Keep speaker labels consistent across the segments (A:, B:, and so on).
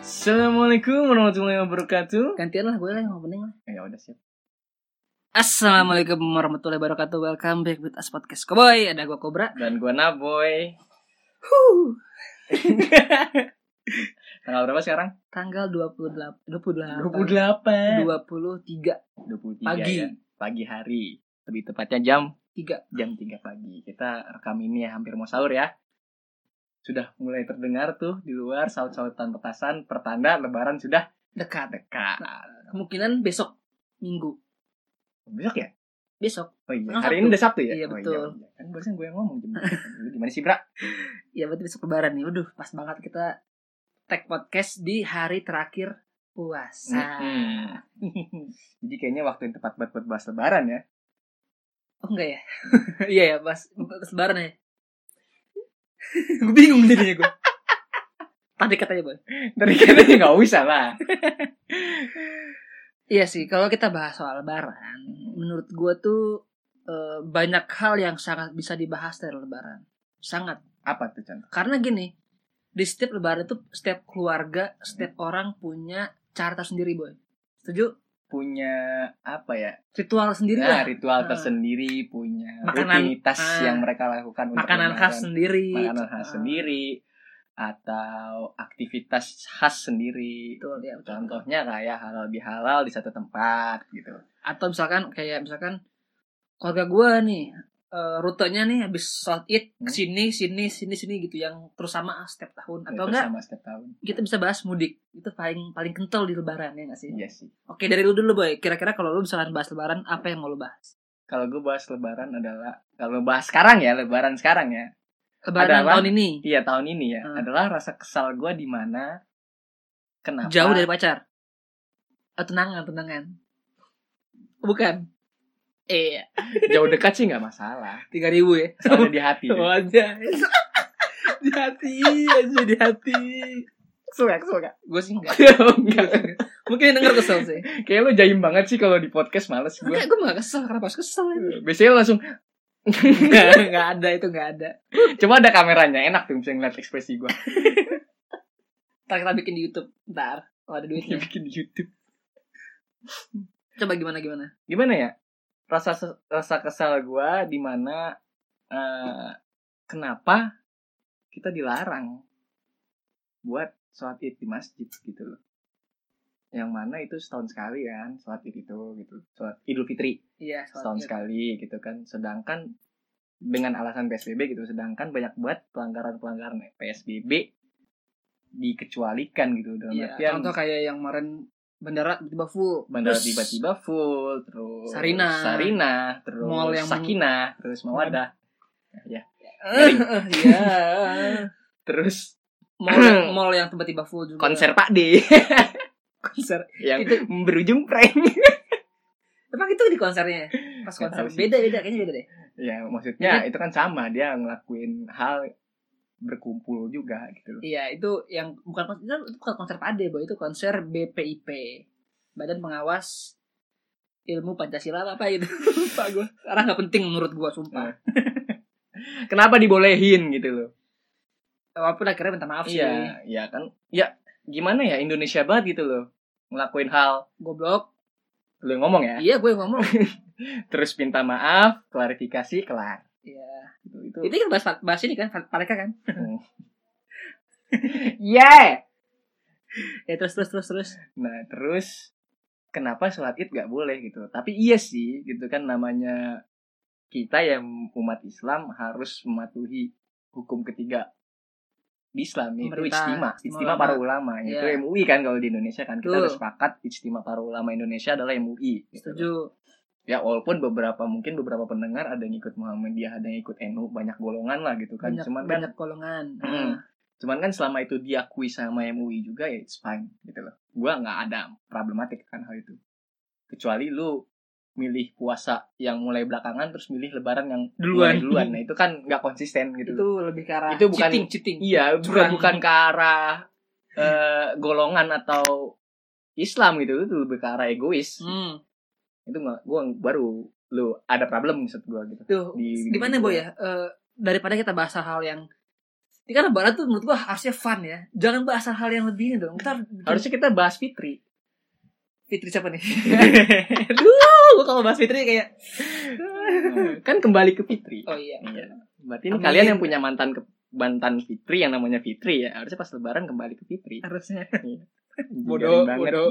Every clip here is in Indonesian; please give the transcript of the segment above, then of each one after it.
A: Assalamualaikum warahmatullahi wabarakatuh.
B: Gantian lah gue lah yang opening lah.
A: Ya udah sip.
B: Assalamualaikum warahmatullahi wabarakatuh. Welcome back with us podcast Cowboy. Ada gue Kobra.
A: Dan gua Naboy.
B: Huh.
A: Tanggal berapa sekarang?
B: Tanggal 28 28
A: 28. 23
B: 23 Pagi.
A: ya. Pagi hari. Lebih tepatnya jam
B: 3
A: jam 3 pagi. Kita rekam ini ya hampir mau sahur ya. Sudah mulai terdengar tuh di luar saut-sautan petasan pertanda lebaran sudah
B: dekat.
A: dekat.
B: Kemungkinan besok minggu.
A: Besok ya?
B: Besok.
A: Oh iya,
B: Tanggal
A: hari
B: Sabtu.
A: ini udah Sabtu ya?
B: Iya,
A: Oh
B: betul.
A: iya. Kan barusan gue yang ngomong jam Lu gimana sih, Bra?
B: Ya berarti besok lebaran nih. Waduh, pas banget kita tag podcast di hari terakhir puasa.
A: Mm-mm. Hmm. Jadi kayaknya waktu yang tepat buat buat bahas lebaran ya.
B: Oh enggak ya? Iya ya, pas pas lebaran ya. gue bingung jadinya gue. Tadi katanya, Boy.
A: Dari kayaknya nggak usah lah.
B: Iya sih, kalau kita bahas soal lebaran, menurut gua tuh eh, banyak hal yang sangat bisa dibahas dari lebaran. Sangat.
A: Apa tuh contoh?
B: Karena gini, di setiap lebaran tuh setiap keluarga, setiap orang punya cara tersendiri, Boy. Setuju?
A: Punya apa ya?
B: Ritual sendiri
A: Nah,
B: lah.
A: ritual
B: Ah.
A: tersendiri, punya
B: Makanan,
A: rutinitas
B: ah.
A: yang mereka lakukan untuk
B: Makanan
A: lebaran.
B: khas sendiri.
A: makanan khas
B: Ah,
A: sendiri atau aktivitas khas sendiri.
B: Betul, ya, betul.
A: Contohnya kayak halal bihalal di satu tempat gitu.
B: Atau misalkan kayak misalkan keluarga gua nih, eh, rutenya nih habis sholat id
A: Hmm.
B: sini sini sini sini gitu yang terus sama setiap tahun atau
A: Itu
B: enggak
A: sama setiap tahun.
B: kita bisa bahas mudik itu paling paling kental di lebaran ya nggak sih
A: Iya sih.
B: oke dari lu dulu boy kira-kira kalau lu misalkan bahas lebaran apa yang mau lu bahas
A: Kalau gue bahas lebaran adalah kalau bahas sekarang ya, lebaran sekarang ya.
B: lebaran
A: Adalah-
B: tahun ini
A: Iya tahun ini ya
B: Hmm.
A: adalah rasa kesal gue di mana kenapa
B: jauh dari pacar oh, tenangan tenangan bukan iya
A: jauh dekat sih nggak masalah
B: tiga ribu ya
A: soalnya di hati
B: wajah di hati aja di hati
A: suka suka
B: gue sih enggak
A: kayak
B: mungkin yang denger kesel sih
A: lu jaim banget sih kalau di podcast males gue
B: enggak gue nggak kesel kenapa harus kesel ini
A: biasanya lu langsung
B: nggak ada itu nggak ada
A: coba ada kameranya enak tuh bisa ngeliat ekspresi gue
B: ntar kita bikin di YouTube ntar kalau ada duitnya
A: bikin di YouTube
B: coba gimana gimana
A: gimana ya rasa rasa kesal gue di mana eh, kenapa kita dilarang buat sholat id di masjid gitu loh yang mana itu setahun sekali kan sholat id itu gitu sholat idul fitri
B: Iya,
A: setahun
B: soalnya.
A: sekali gitu kan sedangkan dengan alasan psbb gitu sedangkan banyak banget pelanggaran pelanggaran psbb dikecualikan gitu dalam
B: Iya,
A: artian
B: contoh kayak yang kemarin bandara tiba-tiba full.
A: bandara
B: Terus
A: tiba-tiba full terus
B: Sarina.
A: Sarina terus
B: Mall yang-
A: Sakina terus Mawadah Ya,
B: Eh,
A: Ah,
B: Iya.
A: terus
B: mall, mall yang tiba-tiba full juga.
A: konser Pak D
B: konser.
A: yang
B: Itu-
A: berujung prank
B: Emang itu di konsernya? Pas
A: Nggak
B: konser
A: tahu sih.
B: beda beda kayaknya beda deh.
A: ya maksudnya itu kan sama dia ngelakuin hal berkumpul juga gitu loh
B: Iya, itu yang bukan konser itu bukan konser Pade, boy, itu konser BPIP. Badan Pengawas Ilmu Pancasila apa, apa itu. Lupa gue. Karena nggak penting menurut gua
A: Nah.
B: sumpah.
A: kenapa dibolehin gitu loh
B: Walaupun akhirnya minta maaf sih.
A: iya iya kan ya gimana ya Indonesia banget gitu loh ngelakuin hal
B: Goblok.
A: lu yang ngomong ya
B: Iya, gue yang ngomong.
A: terus minta maaf klarifikasi kelar Gitu,
B: Iya.
A: itu itu
B: Itu kan bahas, bahas ini kan, Paleka kan.
A: yeah
B: iya. Ya terus terus terus terus.
A: Nah terus kenapa sholat id nggak boleh gitu? Tapi iya sih gitu kan namanya kita yang umat Islam harus mematuhi hukum ketiga di Islam itu
B: Pemerintah,
A: ijtima,
B: ijtima
A: ijtima para ulama itu
B: Iya.
A: MUI kan kalau di Indonesia kan kita
B: Betul.
A: udah sepakat ijtima para ulama Indonesia adalah MUI. gitu.
B: Setuju.
A: Ya walaupun beberapa mungkin beberapa pendengar ada yang ikut Muhammadiyah, ada yang ikut NU, banyak golongan lah gitu kan.
B: banyak,
A: Cuman kan
B: banyak golongan. Nah.
A: Mm. cuman kan selama itu diakui sama MUI juga ya it's fine gitu loh gua nggak ada problematik kan hal itu kecuali lu milih puasa yang mulai belakangan terus milih lebaran yang
B: Iya, Duluan.
A: mulai duluan nah itu kan nggak konsisten gitu
B: Itu
A: loh.
B: lebih ke arah
A: Itu bukan-
B: cheating, cheating.
A: iya bukan
B: curang.
A: bukan ke arah eh, golongan atau Islam gitu itu lebih ke arah egois
B: Hmm.
A: itu nggak gua baru lu ada problem maksud gua gitu
B: Tuh,
A: Di-
B: di
A: di-
B: mana boy ya? Eh, daripada kita bahas hal yang Ini kan lebaran tuh menurut gua harusnya fun ya. Jangan bahas hal-hal yang lebih ini dong. Kita harus bikin-
A: Harusnya kita bahas Fitri.
B: Fitri siapa nih?
A: Aduh, gua kalau bahas Fitri kayak kan kembali ke Fitri.
B: oh iya.
A: Iya. Berarti ini
B: Amin.
A: kalian yang punya mantan ke mantan Fitri yang namanya Fitri ya, harusnya pas lebaran kembali ke Fitri.
B: Harusnya.
A: Eh, Bodoh, bodoh.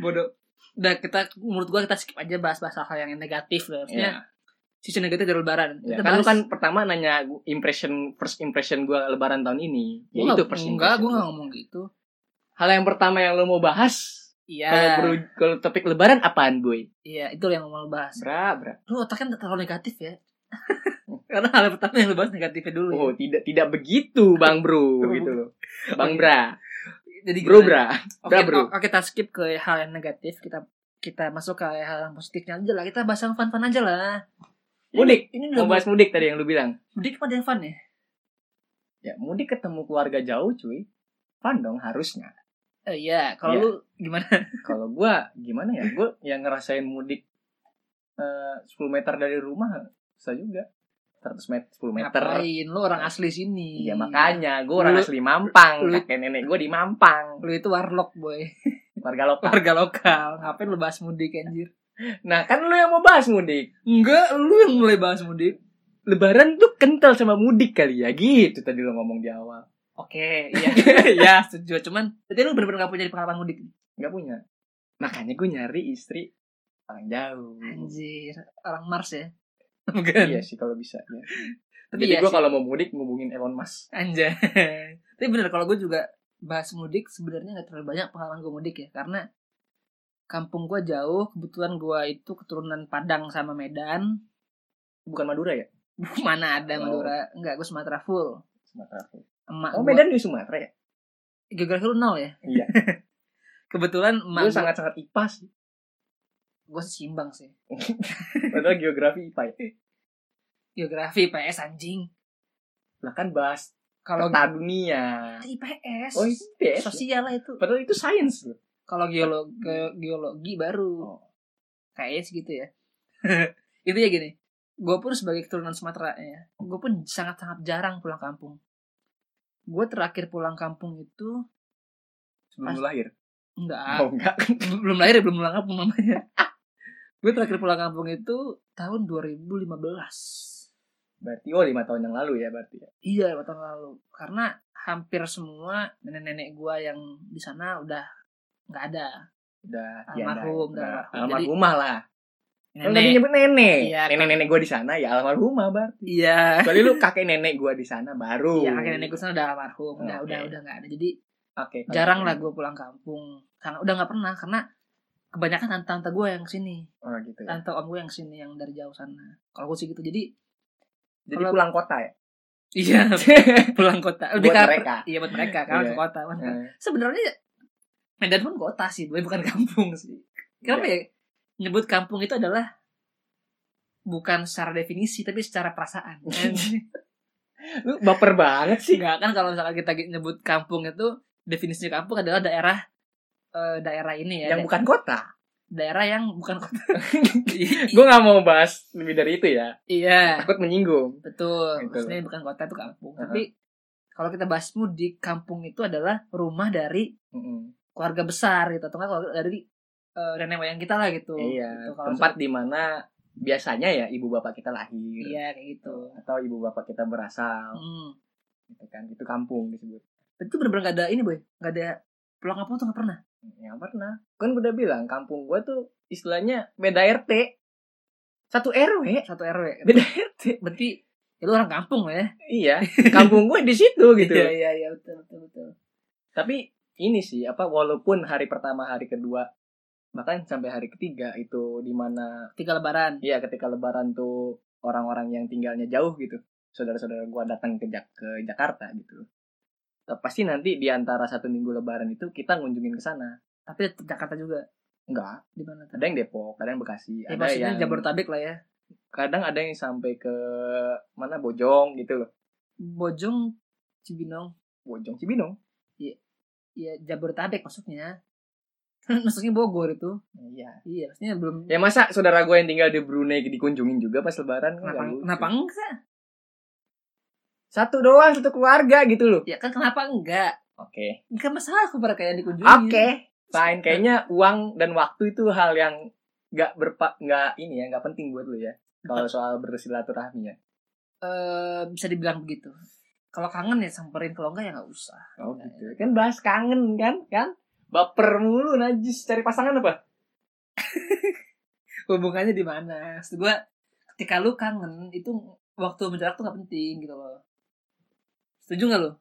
B: Bodoh. Udah kita menurut gua kita skip aja bahas-bahas hal-hal yang negatif lah.
A: Ya,
B: Maksudnya sisi negatif dari lebaran.
A: ya.
B: Kita
A: Kan lu
B: bahas-
A: kan pertama nanya gua- impression first impression gua lebaran tahun ini.
B: Gua
A: Ya itu
B: nggak-
A: first
B: Enggak,
A: impression.
B: gua enggak ngomong gitu.
A: Hal yang pertama yang lu mau bahas
B: Iya.
A: kalau beru- kalau topik lebaran apaan, boy?
B: Iya, itu yang mau lo bahas.
A: Bra, bra.
B: Lu otaknya nggak terlalu negatif ya. Karena hal pertama yang lo bahas negatifnya dulu. ya.
A: Oh, tidak tidak begitu, Bang Bro, gitu loh. Bang Bra,
B: Jadi
A: Bro
B: gimana?
A: Bra.
B: Oke,
A: Udah, bro.
B: o- oke, kita skip ke hal yang negatif. Kita kita masuk ke hal yang positifnya aja lah. Kita bahas yang fun-fun aja lah. Ini-
A: Mudik.
B: Ini udah
A: Mau bahas mudik tadi yang lu bilang.
B: mudik apa ada yang fun ya?
A: Ya, mudik ketemu keluarga jauh, cuy. Fun dong harusnya.
B: Eh, Iya, kalau
A: Iya.
B: lu gimana?
A: Kalau gua gimana ya? Gua yang ngerasain mudik eh, 10 meter dari rumah bisa juga. 100 meter, 10 meter.
B: Ngapain? Lu orang asli sini.
A: Iya, makanya gua orang
B: Lu-
A: asli Mampang.
B: lu-
A: Kakek nenek gua di Mampang,
B: Lu itu warlock, boy.
A: warga lokal.
B: Warga lokal. Ngapain lu bahas mudik anjir?
A: Nah, kan lu yang mau bahas mudik.
B: Enggak, lu yang mulai bahas mudik.
A: Lebaran tuh kental sama mudik kali ya gitu tadi lu ngomong di awal.
B: Oke, iya. ya, setuju. Cuman, berarti lu bener-bener gak punya pengalaman mudik.
A: nggak punya makanya gue nyari istri orang jauh
B: Anjir, orang Mars ya.
A: iya sih kalau bisa ya.
B: Tapi
A: jadi
B: ya
A: gue
B: sih.
A: kalau mau mudik ngubungin Elon Musk
B: Anjay. Tapi bener kalau gue juga bahas mudik sebenarnya nggak terlalu banyak pengalaman gue mudik ya karena kampung gue jauh kebetulan gue itu keturunan Padang sama Medan
A: bukan Madura ya
B: mana
A: Oh.
B: ada Madura nggak gue Sumatera full
A: Sumatera
B: emak
A: oh
B: gua-
A: Medan di Sumatera ya
B: geografi lu nol ya
A: Iya.
B: kebetulan emak
A: gue
B: gue sangat
A: sangat sangat IPA sih
B: gue seimbang sih
A: padahal geografi IPA ya.
B: geografi IPS anjing
A: lah kan bahas
B: kalau
A: peta dunia
B: IPS
A: oh itu ya
B: sosial lah itu
A: padahal itu sains loh
B: kalau geologi geologi baru
A: Iya. Oh.
B: kayaknya gitu ya itu ya gini gue pun sebagai keturunan Sumatera ya gue pun sangat sangat jarang pulang kampung gue terakhir pulang kampung itu
A: sebelum lu lahir
B: enggak
A: oh enggak
B: belum lahir ya, belum pulang kampung namanya gue terakhir pulang kampung itu tahun 2015
A: berarti oh lima tahun yang lalu ya berarti ya
B: iya lima tahun lalu karena hampir semua nenek-nenek gue yang di sana udah nggak ada
A: udah
B: Almarhum,
A: tiada.
B: udah
A: Nah,
B: almarhum.
A: almarhumah lah kan tadi
B: nenek
A: nyebut nenek
B: Iya.
A: nenek nenek gue di sana ya almarhumah bar
B: iya
A: kecuali lu kakek nenek gue di sana baru
B: Iya, kakek nenek gue sana udah almarhum, udah
A: Oke.
B: udah udah nggak ada. Jadi
A: Oke. kalau
B: jarang
A: gitu.
B: lah gue pulang kampung. Karena udah nggak pernah karena kebanyakan tante tante gue yang kesini,
A: Oh gitu ya.
B: tante om gue yang kesini yang dari jauh sana. Kalau gue sih gitu, jadi
A: Jadi
B: Kalau-
A: pulang kota ya.
B: iya pulang kota.
A: Buat
B: Di kar-
A: mereka.
B: Iya buat mereka karena
A: Iya.
B: ke kota. kan. Sebenarnya Medan pun kota sih, gue bukan kampung sih. Kenapa
A: Iya.
B: ya? Nyebut kampung itu adalah bukan secara definisi tapi secara perasaan.
A: Lu baper banget sih.
B: Enggak kan kalau misalkan kita nyebut kampung itu definisinya kampung adalah daerah eh, daerah ini ya.
A: Yang bukan kota.
B: daerah yang bukan kota.
A: Gue nggak mau bahas lebih dari itu ya.
B: iya,
A: Takut menyinggung.
B: betul.
A: Betul.
B: Maksudnya bukan kota itu kampung.
A: Uh-huh.
B: Tapi kalau kita bahas mudik, kampung itu adalah rumah dari
A: Mm-mm.
B: keluarga besar gitu atau enggak keluarga dari eh, nenek moyang kita lah gitu.
A: Iya.
B: Gitu, kalau
A: tempat di mana biasanya ya ibu bapak kita
B: misalkan-
A: lahir.
B: iya kayak gitu.
A: Atau ibu bapak kita berasal.
B: Hmm.
A: Gitu kan. Itu kampung disebut.
B: Itu bener-bener gak ada ini boy, gak ada pulang kampung tuh gak pernah.
A: Ya pernah. Kan gue udah bilang kampung gue tuh istilahnya beda RT. Satu RW.
B: Satu RW.
A: Beda RT.
B: Berarti ya lu orang kampung lah ya.
A: Iya. Kampung gue di situ gitu.
B: Iya iya iya betul betul betul.
A: tapi ini sih apa walaupun hari pertama hari kedua bahkan sampai hari ketiga itu dimana
B: Tiga lebaran.
A: ya ketika lebaran tuh orang-orang yang tinggalnya jauh gitu saudara-saudara gua datang ke, Jak- ke Jakarta gitu Tapi pasti nanti di antara satu minggu lebaran itu kita ngunjungin ke sana
B: Tapi tetap Jakarta juga
A: enggak
B: di mana tuh?
A: ada yang Depok ada yang Bekasi ada
B: Ya, maksudnya
A: yang
B: Jabodetabek lah ya.
A: kadang ada yang sampai ke mana Bojong gitu loh
B: Bojong Cibinong
A: Bojong Cibinong
B: ya Jabodetabek maksudnya maksudnya Bogor itu
A: iya
B: iya maksudnya belum
A: ya masa saudara gue yang tinggal di Brunei dikunjungin juga pas lebaran
B: kenapa
A: Nggak lucu.
B: kenapa enggak
A: Satu doang, satu keluarga gitu loh.
B: Ya kan kenapa enggak?
A: Oke.
B: Enggak masalah aku yang dikunjungi.
A: Oke. Iya. Fine, kayaknya uang dan waktu itu hal yang nggak berpa nggak ini ya nggak penting buat lu ya kalau soal bersilaturahmi ya
B: Eh, bisa dibilang begitu. Kalau kangen ya samperin, kalau enggak ya enggak usah.
A: oh gitu kan bahas kangen kan kan baper mulu najis cari pasangan apa
B: Hubungannya di mana? Maksud gua ketika lu kangen itu waktu menjarak tuh enggak penting gitu loh. Setuju enggak lu?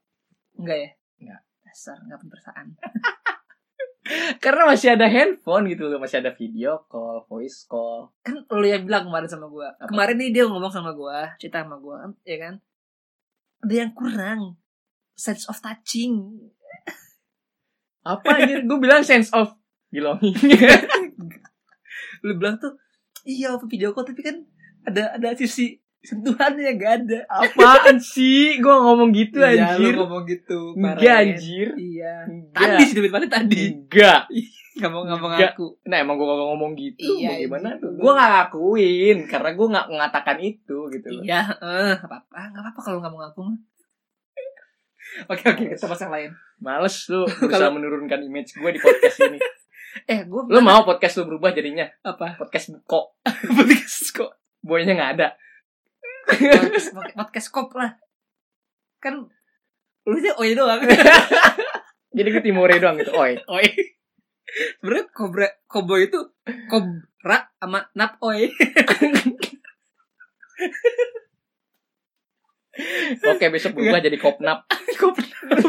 B: Enggak ya?
A: Enggak.
B: Dasar enggak perasaan.
A: karena masih ada handphone gitu loh masih ada video call voice call
B: Kan lu yang bilang kemarin sama gua.
A: Apa?
B: Kemarin nih dia ngomong sama gua, cerita sama gua, kan, ya kan? Ada yang kurang sense of touching.
A: apa anjir gue bilang sense of belonging
B: lu bilang tuh iya apa video call tapi kan ada ada sisi sentuhannya yang gak ada
A: apaan sih gue ngomong ya. Kan gitu
B: Iya, lu
A: anjir
B: ngomong gitu
A: enggak
B: kemarin.
A: anjir
B: iya Hmm. tadi
A: enggak
B: sih debat paling tadi
A: enggak
B: nggak mau nggak mau
A: Enggak.
B: ngaku
A: nah emang gue ngomong ngomong gitu
B: Iya,
A: mau gimana
B: gitu.
A: tuh gue gak ngakuin karena gue nggak mengatakan itu gitu loh
B: iya eh nggak apa apa nggak apa apa kalau nggak mau ngaku mah oke oke kita bahas yang lain
A: males lu berusaha menurunkan image gue di podcast ini
B: eh gue
A: lu mau podcast lu berubah jadinya
B: apa
A: podcast buko
B: podcast kok
A: boynya nggak ada
B: podcast, podcast kop lah kan lu sih oi doang
A: jadi gue timore doang gitu oi
B: oi sebenarnya kobra koboy itu kobra sama nap oi
A: oke besok berubah
B: Iya.
A: jadi kopnap
B: Kok pernah?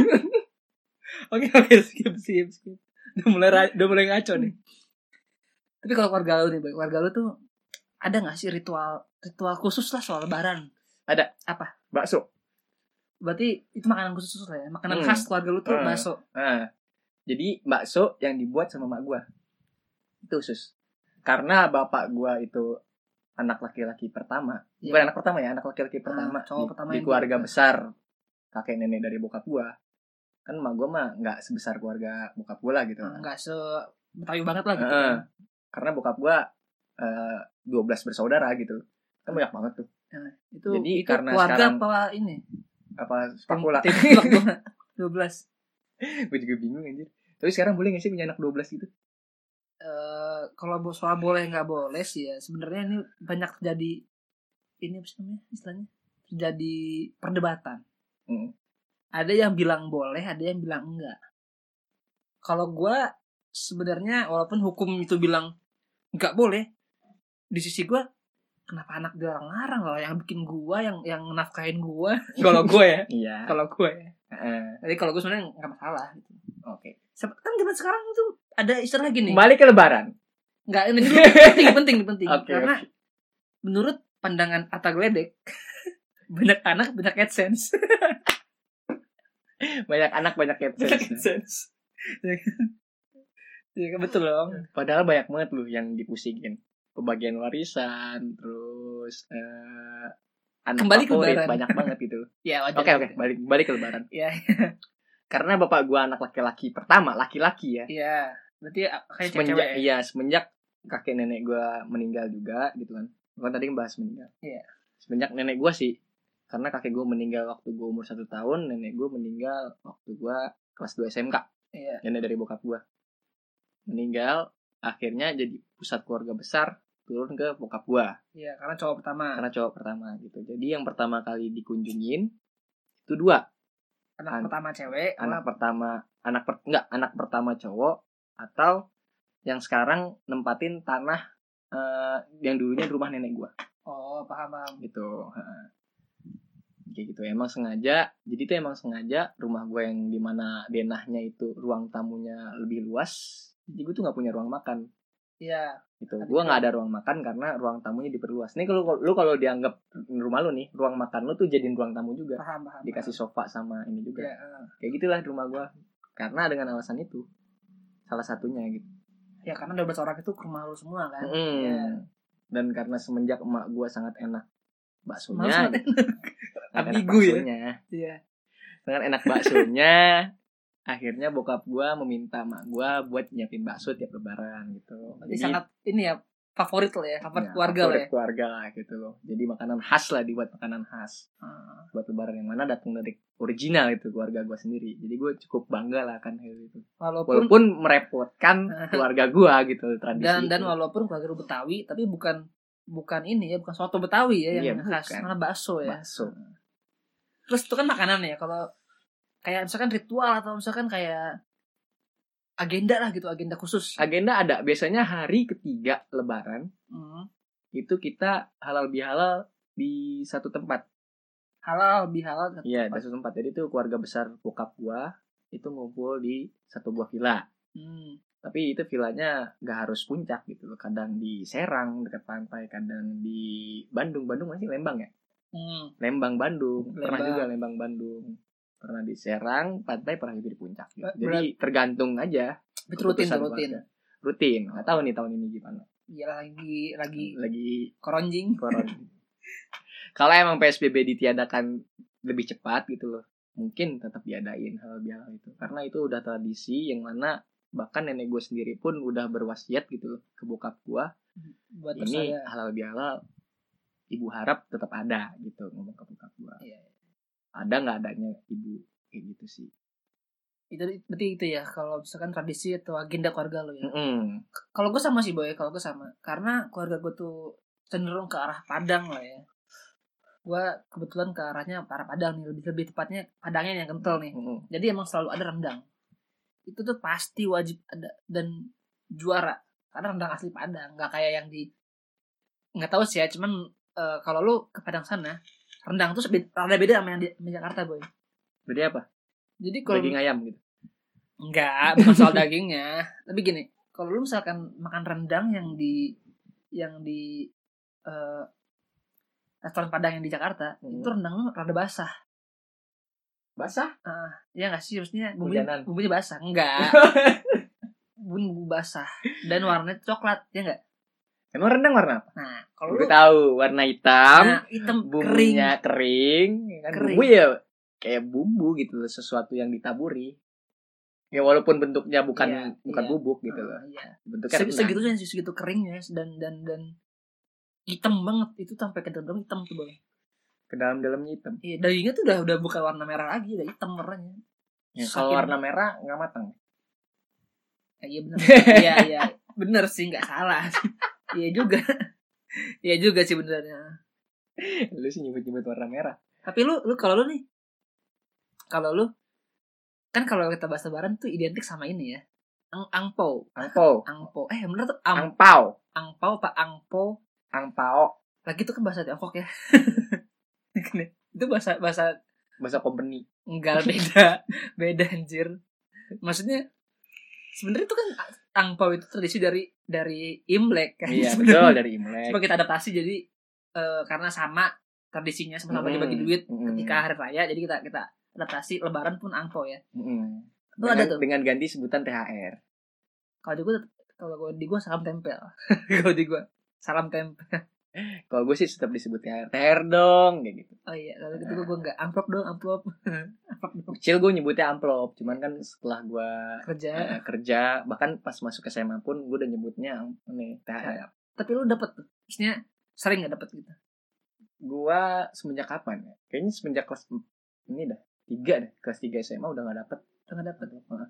B: Oke oke skip skip skip. Udah mulai ra- udah mulai ngaco nih. Tapi kalau keluarga lu nih, Boy, keluarga lu tuh ada gak sih ritual ritual khusus lah soal lebaran?
A: bakso
B: Berarti itu makanan khusus lah ya. Makanan
A: Hmm.
B: khas keluarga lu tuh
A: Hmm.
B: bakso.
A: nah, jadi bakso yang dibuat sama mak gue itu sus karena bapak gue itu anak laki-laki pertama bukan anak pertama ya anak laki-laki pertama,
B: Iya. Ah, cowok
A: di,
B: pertama
A: di
B: yang
A: keluarga
B: dibuka.
A: besar kakek nenek dari bokap gua kan emak gua mah nggak sebesar keluarga bokap gua lah gitu
B: Enggak se Nah, Betawi banget lah gitu.
A: Heeh. karena bokap gua eh, dua 12 bersaudara gitu kan banyak banget tuh
B: Nah, itu
A: Jadi
B: itu
A: karena
B: keluarga
A: sekarang-
B: apa ini?
A: apa spakula
B: Tim- tim- tim- tim- 12.
A: gue juga bingung anjir tapi sekarang boleh gak sih punya anak 12 gitu
B: Eh kalau bo- soal boleh nggak boleh sih ya sebenarnya ini banyak terjadi ini apa sih namanya istilahnya terjadi perdebatan
A: Hmm.
B: ada yang bilang boleh ada yang bilang enggak kalau gua sebenarnya walaupun hukum itu bilang nggak boleh di sisi gua kenapa anak dilarang-larang loh yang bikin gua yang yang nafkahin gua kalau gua ya
A: iya
B: kalau gua ya
A: Heeh.
B: jadi kalau gua sebenarnya nggak masalah gitu
A: oke
B: Sep- kan zaman sekarang tuh ada istilah gini
A: kembali ke lebaran
B: nggak ini dulu penting penting penting
A: Oke,
B: karena menurut pandangan Ata Gledek banyak anak banyak AdSense
A: banyak anak banyak adsense
B: AdSense ya kan? Ya kan, betul dong
A: padahal banyak banget loh yang dipusingin pembagian warisan terus eh, anak
B: Kembali ke
A: favorit,
B: lebaran.
A: banyak banget gitu
B: ya wajar
A: Oke oke balik balik ke lebaran.
B: ya
A: Karena bapak gua anak laki-laki pertama laki-laki ya.
B: ya berarti kayak cewek ya?
A: Semenjak iya semenjak kakek nenek gua meninggal juga gitu kan. Bukan tadi bahas meninggal.
B: Iya.
A: Semenjak nenek gua sih karena kakek gua meninggal waktu gua umur satu tahun, nenek gua meninggal waktu gua kelas 2 SMK.
B: Iya.
A: Nenek dari bokap gua meninggal akhirnya jadi pusat keluarga besar turun ke bokap gua
B: ya karena cowok pertama
A: karena cowok pertama gitu. Jadi yang pertama kali dikunjungin itu dua
B: anak
A: An-
B: pertama cewek
A: anak pertama anak per, enggak anak pertama cowok atau yang sekarang nempatin tanah eh, yang dulunya di rumah nenek gua
B: oh paham paham
A: gitu heeh. kayak gitu emang sengaja jadi itu emang sengaja rumah gua yang dimana denahnya itu ruang tamunya lebih luas jadi gua tuh nggak punya ruang makan
B: iya
A: gitu
B: Tapi
A: gua
B: kan-
A: nggak ada ruang makan karena ruang tamunya diperluas nih kalau lu kalau dianggap rumah lu nih ruang makan lu tuh jadiin ruang tamu juga
B: paham paham
A: dikasih sofa sama ini juga
B: paham. ya eh.
A: kayak gitulah di rumah gua karena dengan alasan itu salah satunya gitu
B: ya karena 12 orang itu ke rumah lu semua kan
A: Mm.
B: Iya.
A: dan karena semenjak emak gua sangat enak
B: Malah
A: baksonya
B: sangat
A: gitu. Sangat enak
B: Ambigu ya.
A: baksonya.
B: iya
A: dengan enak baksonya akhirnya bokap gua meminta emak gua buat nyiapin bakso tiap lebaran gitu
B: jadi sangat ini ya favorit lah ya favorit
A: Ya,
B: keluarga lah
A: favorit
B: ya
A: keluarga lah gitu loh jadi makanan khas lah dibuat makanan khas
B: Ah,
A: buat lebaran yang mana datang dari original itu keluarga gue sendiri jadi gue cukup bangga lah kan hal itu
B: walaupun
A: walaupun merepotkan keluarga gue gitu tradisi
B: dan dan
A: itu.
B: walaupun keluarga lu Betawi tapi bukan bukan ini ya bukan soto Betawi ya yang
A: Iya,
B: khas
A: bukan.
B: malah bakso ya
A: bakso
B: terus itu kan makanan ya kalau kayak misalkan ritual atau misalkan kayak agenda lah gitu agenda khusus
A: agenda ada biasanya hari ketiga lebaran
B: Hmm.
A: itu kita halal bihalal di satu tempat
B: halal bihalal satu
A: iya di
B: tempat.
A: satu tempat jadi itu keluarga besar bokap gua itu ngumpul di satu buah villa
B: Hmm.
A: tapi itu villanya nggak harus puncak gitu loh kadang di Serang dekat pantai kadang di Bandung Bandung masih Lembang ya
B: Hmm.
A: Lembang Bandung pernah
B: Lembang.
A: juga Lembang Bandung pernah di Serang pantai pernah juga di puncak gitu.
B: Ber-
A: jadi tergantung aja
B: Itu rutin
A: keputusan
B: tuh, rutin
A: keluarga. rutin nggak tahu nih tahun ini gimana
B: iya lagi lagi
A: lagi
B: koronjing
A: corona. Kalau emang PSBB ditiadakan lebih cepat gitu loh, mungkin tetap diadain hal bihalal itu. Karena itu udah tradisi yang mana bahkan nenek gue sendiri pun udah berwasiat gitu loh ke bokap gue
B: buat
A: ini
B: saya
A: halal bihalal ibu harap tetap ada gitu ngomong ke bokap gue
B: Iya,
A: ada nggak adanya ibu kayak gitu sih
B: itu berarti itu ya kalau misalkan tradisi atau agenda keluarga lo ya
A: Mm-mm.
B: kalau gue sama sih boy kalau gue sama karena keluarga gue tuh cenderung ke arah Padang lah ya gue kebetulan ke arahnya ke arah Padang nih lebih lebih tepatnya Padangnya yang kental nih
A: Mm-mm.
B: jadi emang selalu ada rendang itu tuh pasti wajib ada dan juara karena rendang asli Padang nggak kayak yang di nggak tahu sih ya cuman eh, kalau lu ke Padang sana rendang tuh sebe- rada beda sama yang di, sama Jakarta boy
A: Jadi apa?
B: jadi kalau
A: Daging ayam gitu.
B: Enggak, bukan soal dagingnya. Tapi gini, kalau lu misalkan makan rendang yang di yang di eh, restoran Padang yang di Jakarta,
A: Hmm.
B: itu rendang lu rada basah.
A: Basah?
B: Ya enggak sih, maksudnya bumbunya,
A: Hujanan.
B: bumbunya basah. Enggak. Bumbu bumbu basah dan warnanya coklat, ya enggak?
A: Emang rendang warna apa?
B: Nah, kalau lu
A: Gue tahu warna hitam.
B: nah, hitam kering.
A: bumbunya kering, ya kan?
B: Kering.
A: bumbu ya kayak bumbu gitu loh sesuatu yang ditaburi ya walaupun bentuknya bukan
B: Iya,
A: bukan
B: iya.
A: bubuk gitu
B: Ah,
A: loh
B: iya.
A: bentuknya
B: Seg-
A: rendang.
B: Segitunya sih segitu keringnya dan dan dan hitam banget itu sampai ke dalam hitam tuh Bang.
A: ke dalam dalamnya hitam
B: Iya, dagingnya tuh udah udah bukan warna merah lagi, udah hitam warnanya.
A: ya,
B: Saking-
A: kalau warna merah nggak matang
B: Ah, Iya benar. Iya iya, bener sih nggak salah. Iya juga. Iya juga sih benernya.
A: lu sih nyebut nyebut warna merah
B: Tapi lu lu kalau lu nih, kalau lu kan kalau kita bahas lebaran tuh identik sama ini ya. Ang angpau,
A: angpau
B: angpau. Eh bener tuh am,
A: angpau
B: angpau pak angpau.
A: angpao
B: Lagi itu kan bahasa Tiongkok ya. Gini, itu bahasa bahasa
A: bahasa company
B: Enggak beda, beda anjir. Maksudnya sebenarnya itu kan angpau itu tradisi dari dari Imlek kan.
A: iya betul
B: sebenarnya.
A: dari imlek
B: Cuma kita adaptasi jadi eh, karena sama tradisinya sama-sama
A: Mm-mm.
B: dibagi duit
A: Mm-mm.
B: ketika hari raya jadi kita kita adaptasi lebaran pun angpau ya.
A: Mm-mm.
B: Lu
A: dengan,
B: ada tuh.
A: dengan ganti sebutan thr
B: Kalau di gua kalau gua di gua salam tempel. kalau di gua salam tempel.
A: kalau gue sih tetap disebut thr thr dong kayak gitu
B: Oh iya, kalau gitu gua gua enggak amplop dong, amplop. amplop dong.
A: kecil gue nyebutnya amplop cuman kan setelah gue
B: kerja.
A: Eh, kerja bahkan pas masuk SMA pun gue udah nyebutnya nih THR
B: Tapi lu dapet tuh. Maksudnya sering nggak dapet gitu.
A: gue semenjak kapan ya kayaknya semenjak kelas em- ini dah tiga dah kelas tiga SMA udah nggak dapet
B: Udah nggak dapet.
A: Heeh.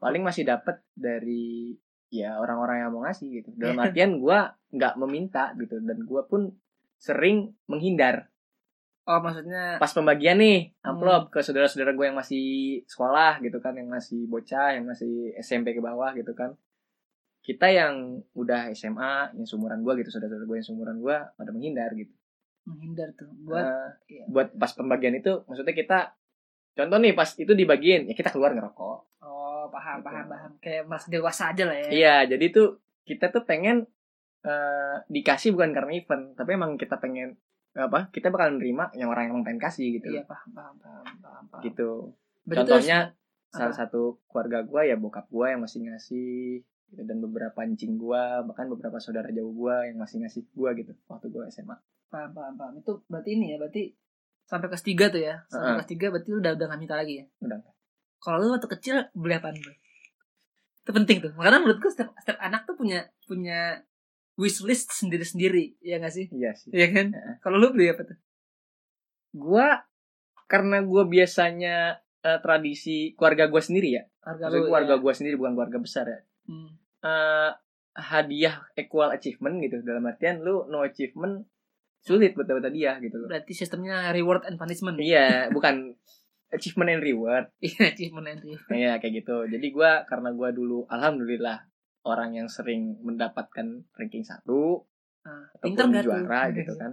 A: paling masih dapet dari ya orang-orang yang mau ngasih gitu dalam artian gue nggak meminta gitu dan gue pun sering menghindar
B: Oh, maksudnya
A: pas pembagian nih amplop
B: Hmm.
A: ke saudara-saudara gue yang masih sekolah gitu kan yang masih bocah yang masih SMP ke bawah gitu kan kita yang udah SMA yang seumuran gue gitu saudara-saudara gue yang seumuran gue pada menghindar gitu
B: menghindar tuh
A: buat
B: buat iya.
A: buat pas pembagian itu maksudnya kita contoh nih pas itu dibagiin ya kita keluar ngerokok
B: oh paham
A: Gitu.
B: paham paham kayak merasa dewasa aja lah ya
A: iya jadi tuh kita tuh pengen eh, dikasih bukan karena event tapi emang kita pengen apa kita bakal nerima yang orang yang emang pengen kasih gitu
B: Iya, paham paham paham paham, paham.
A: gitu
B: Berarti
A: Contohnya,
B: terus-
A: salah
B: Apa?
A: satu keluarga gua ya bokap gua yang masih ngasih gitu, dan beberapa encing gua bahkan beberapa saudara jauh gua yang masih ngasih gua gitu waktu gua SMA
B: paham paham paham itu berarti ini ya berarti sampai kelas tiga tuh ya sampai
A: Heeh.
B: kelas tiga berarti lu udah udah nggak minta lagi ya
A: Udah nggak.
B: kalau lu waktu kecil beli apaan Boy? itu penting tuh karena menurutku setiap setiap anak tuh punya punya wishlist sendiri-sendiri, ya gak sih?
A: Iya sih.
B: Iya kan? Kalau lu beli apa tuh?
A: Gua karena gua biasanya eh, tradisi keluarga gua sendiri ya.
B: Harga
A: Maksudnya
B: lu,
A: keluarga
B: ya.
A: gua sendiri bukan keluarga besar ya.
B: Hmm.
A: Eh, hadiah equal achievement gitu dalam artian lu no achievement sulit buat dapat hadiah gitu loh.
B: Berarti sistemnya reward and punishment.
A: Iya, bukan achievement and reward.
B: Iya, achievement and reward.
A: Iya, kayak gitu. Jadi gua karena gua dulu alhamdulillah orang yang sering mendapatkan ranking satu
B: Nah,
A: ataupun
B: pinter gak tuh?
A: juara gitu kan.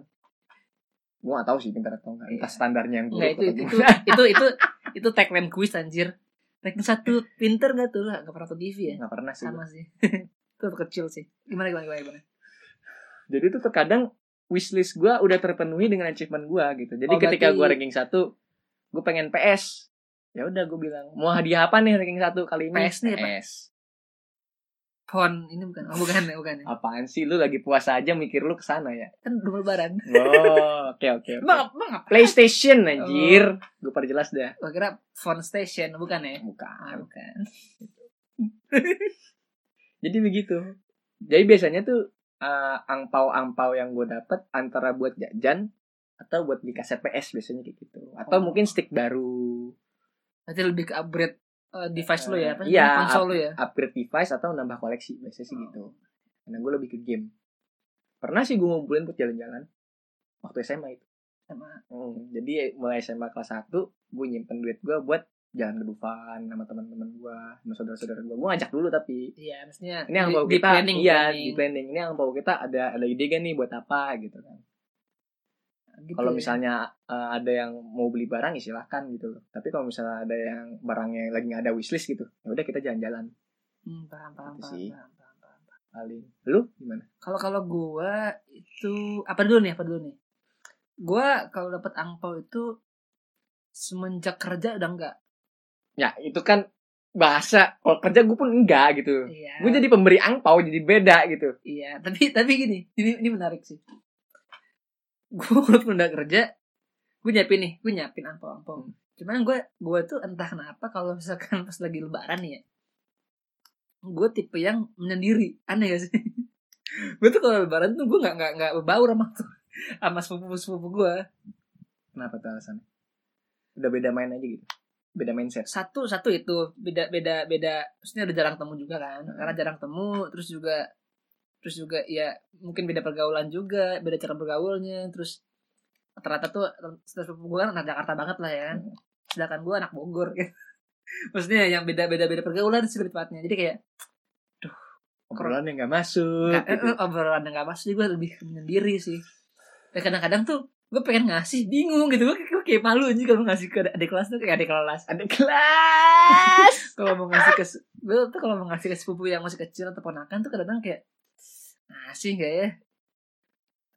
A: Gua gak tahu sih pintar atau enggak. Entah
B: Iya.
A: standarnya yang buruk
B: Enggak itu itu
A: atau
B: itu
A: gimana.
B: itu itu, itu tagline quiz anjir. Ranking satu pinter gak tuh lah, gak pernah tuh TV ya?
A: Nggak pernah sih. gua.
B: Sama sih. itu waktu kecil sih. Gimana gimana gimana? gimana?
A: Jadi itu terkadang wishlist gue udah terpenuhi dengan achievement gue gitu. Jadi
B: Oh, berarti-
A: ketika gue ranking satu, gue pengen PS. Ya udah gue bilang mau hadiah apa nih ranking satu kali ini?
B: PS nih apa?
A: PS.
B: Pon ini bukan, oh, bukan, bukan. ya.
A: Apaan sih lu lagi puasa aja mikir lu kesana ya?
B: Kan dua lebaran.
A: Oh, oke oke. oke.
B: Bang, bang, apa?
A: PlayStation
B: Oh.
A: anjir. Gue perjelas dah.
B: Gua kira phone station, bukan ya? Ah,
A: Bukan.
B: bukan.
A: Jadi begitu. Jadi biasanya tuh eh, angpau-angpau yang gue dapet antara buat jajan atau buat beli kaset PS biasanya kayak gitu. Atau
B: Oh.
A: mungkin stick baru,
B: Berarti lebih ke upgrade eh, device lo ya, apa sih?
A: Iya,
B: konsol lo ya.
A: upgrade device atau nambah koleksi biasanya sih gitu. Karena gue lebih ke game. Pernah sih gue ngumpulin buat jalan-jalan waktu SMA itu.
B: Sama
A: Hmm, jadi mulai SMA kelas 1 gue nyimpen duit gue buat jalan ke Dufan sama teman-teman gue, sama saudara-saudara gue. Gue ngajak dulu tapi
B: Iya, maksudnya
A: ini angpau
B: di, di
A: kita
B: planning, kan,
A: iya
B: planning.
A: di planning ini angpau kita ada ada ide gak nih buat apa gitu kan
B: Gitu
A: kalau
B: ya.
A: misalnya eh, ada yang mau beli barang ya silahkan gitu loh tapi kalau misalnya ada yang barangnya lagi nggak ada wishlist gitu ya udah kita jalan-jalan
B: Hmm, paham, paham,
A: Gitu
B: paham,
A: sih.
B: paham, paham, paham.
A: paling lu gimana
B: Kalau kalau gua itu apa dulu nih? Apa dulu nih? Gua kalau dapat angpau itu semenjak kerja udah enggak.
A: ya itu kan bahasa kalau kerja gue pun enggak gitu
B: Iya.
A: gue jadi pemberi angpau jadi beda gitu
B: Iya, tapi tapi gini, ini ini menarik sih. Gue walaupun udah kerja, gue nyiapin nih, gue nyiapin angpau-angpau. Cuman gue gue tuh entah kenapa kalau misalkan pas lagi lebaran nih ya, gue tipe yang menyendiri, aneh gak sih? gue tuh kalau lebaran tuh gue nggak nggak nggak berbaur sama tuh sama sepupu sepupu gue.
A: kenapa tuh alasannya udah beda main aja gitu beda mindset
B: Satu satu itu beda beda beda, maksudnya udah jarang temu juga kan, karena jarang temu, terus juga terus juga ya mungkin beda pergaulan juga beda cara bergaulnya terus rata-rata tuh sepupu gue kan anak Jakarta banget lah ya kan
A: Hmm.
B: sedangkan gue anak Bogor gitu. maksudnya yang beda beda beda pergaulan sih lebih tepatnya jadi kayak
A: obrolan yang nggak masuk
B: nggak-
A: gitu.
B: eh, obrolan yang gak masuk jadi gue lebih menyendiri sih dan kadang-kadang tuh gue pengen ngasih bingung gitu gue kayak malu aja kalau ngasih ke adik kelas tuh kayak adik kelas
A: ada kelas
B: kalau mau ngasih ke gue tuh kalau mau ngasih ke sepupu yang masih kecil atau ponakan tuh kadang kayak ngasih gak ya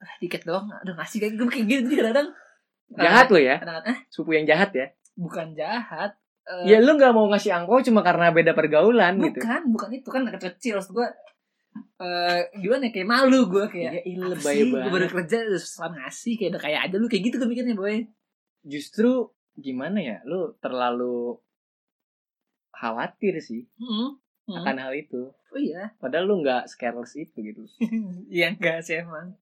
B: ah, dikit doang aduh ngasih kayak gue kayak gitu jadi kadang
A: jahat lo ya
B: kadang ah
A: suku yang jahat ya
B: bukan jahat Eh,
A: ya lu nggak mau ngasih angpau cuma karena beda pergaulan gitu
B: bukan bukan itu kan anak kecil maksud gue eh gimana ya, kayak malu gue
A: Ya,
B: kayak
A: ini
B: apa
A: lebay
B: sih, gue baru
A: banget.
B: kerja terus selam ngasih kayak udah kayak aja lu kayak gitu gue mikirnya boy
A: Justru gimana ya, lu terlalu khawatir sih
B: hmm, hmm.
A: akan hal itu.
B: oh iya
A: Padahal lu nggak careless itu gitu.
B: Iya enggak sih emang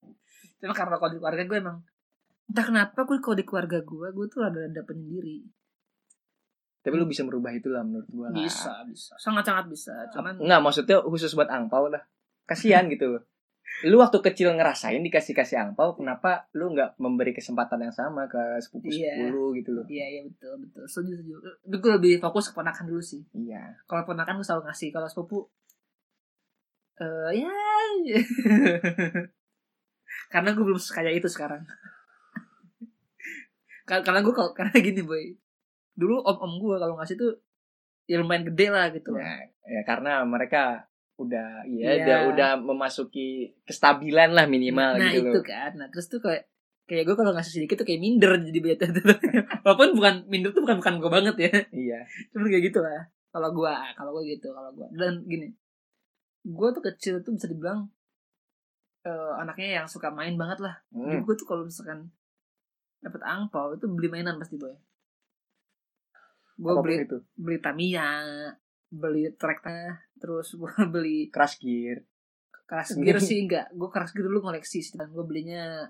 B: Cuma karena kalau di keluarga gue emang Entah kenapa gue kalau di keluarga gue Gue tuh rada-rada penyendiri
A: Tapi lu bisa merubah itu lah menurut gua. lah.
B: Bisa, Nah, bisa Nah, Sangat-sangat bisa Cuman
A: Nggak, maksudnya khusus buat angpau lah. Kasihan gitu loh. Lu waktu kecil ngerasain dikasih-kasih angpau, kenapa lu nggak memberi kesempatan yang sama ke sepupu-sepupu
B: Iya.
A: lu gitu loh.
B: Iya, iya betul, betul Setuju, setuju Tapi Gue lebih fokus ke ponakan dulu sih
A: Iya.
B: Kalau ponakan gue selalu ngasih Kalau sepupu eh Ya Karena gue belum sekaya itu sekarang Kar- Karena gue kalau Karena gini boy Dulu om-om gue kalau ngasih tuh Ya lumayan gede lah gitu
A: Ya, ya, karena mereka udah ya
B: Iya.
A: udah udah memasuki kestabilan lah minimal
B: nah,
A: gitu
B: itu
A: loh.
B: kan nah terus tuh kayak kayak gue kalau ngasih sedikit tuh kayak minder jadi bete walaupun bukan minder tuh bukan bukan gue banget ya
A: Iya.
B: cuman kayak gitu lah kalau gue kalau gue gitu kalau gue dan gini gue tuh kecil tuh bisa dibilang eh, anaknya yang suka main banget lah
A: Hmm.
B: jadi gue tuh kalau misalkan dapat angpau itu beli mainan pasti boy gue
A: Apapun
B: beli
A: itu
B: beli Tamiya beli treknya terus gue beli
A: crash gear
B: keras gear sih enggak gue keras gear dulu koleksi sih dan gue belinya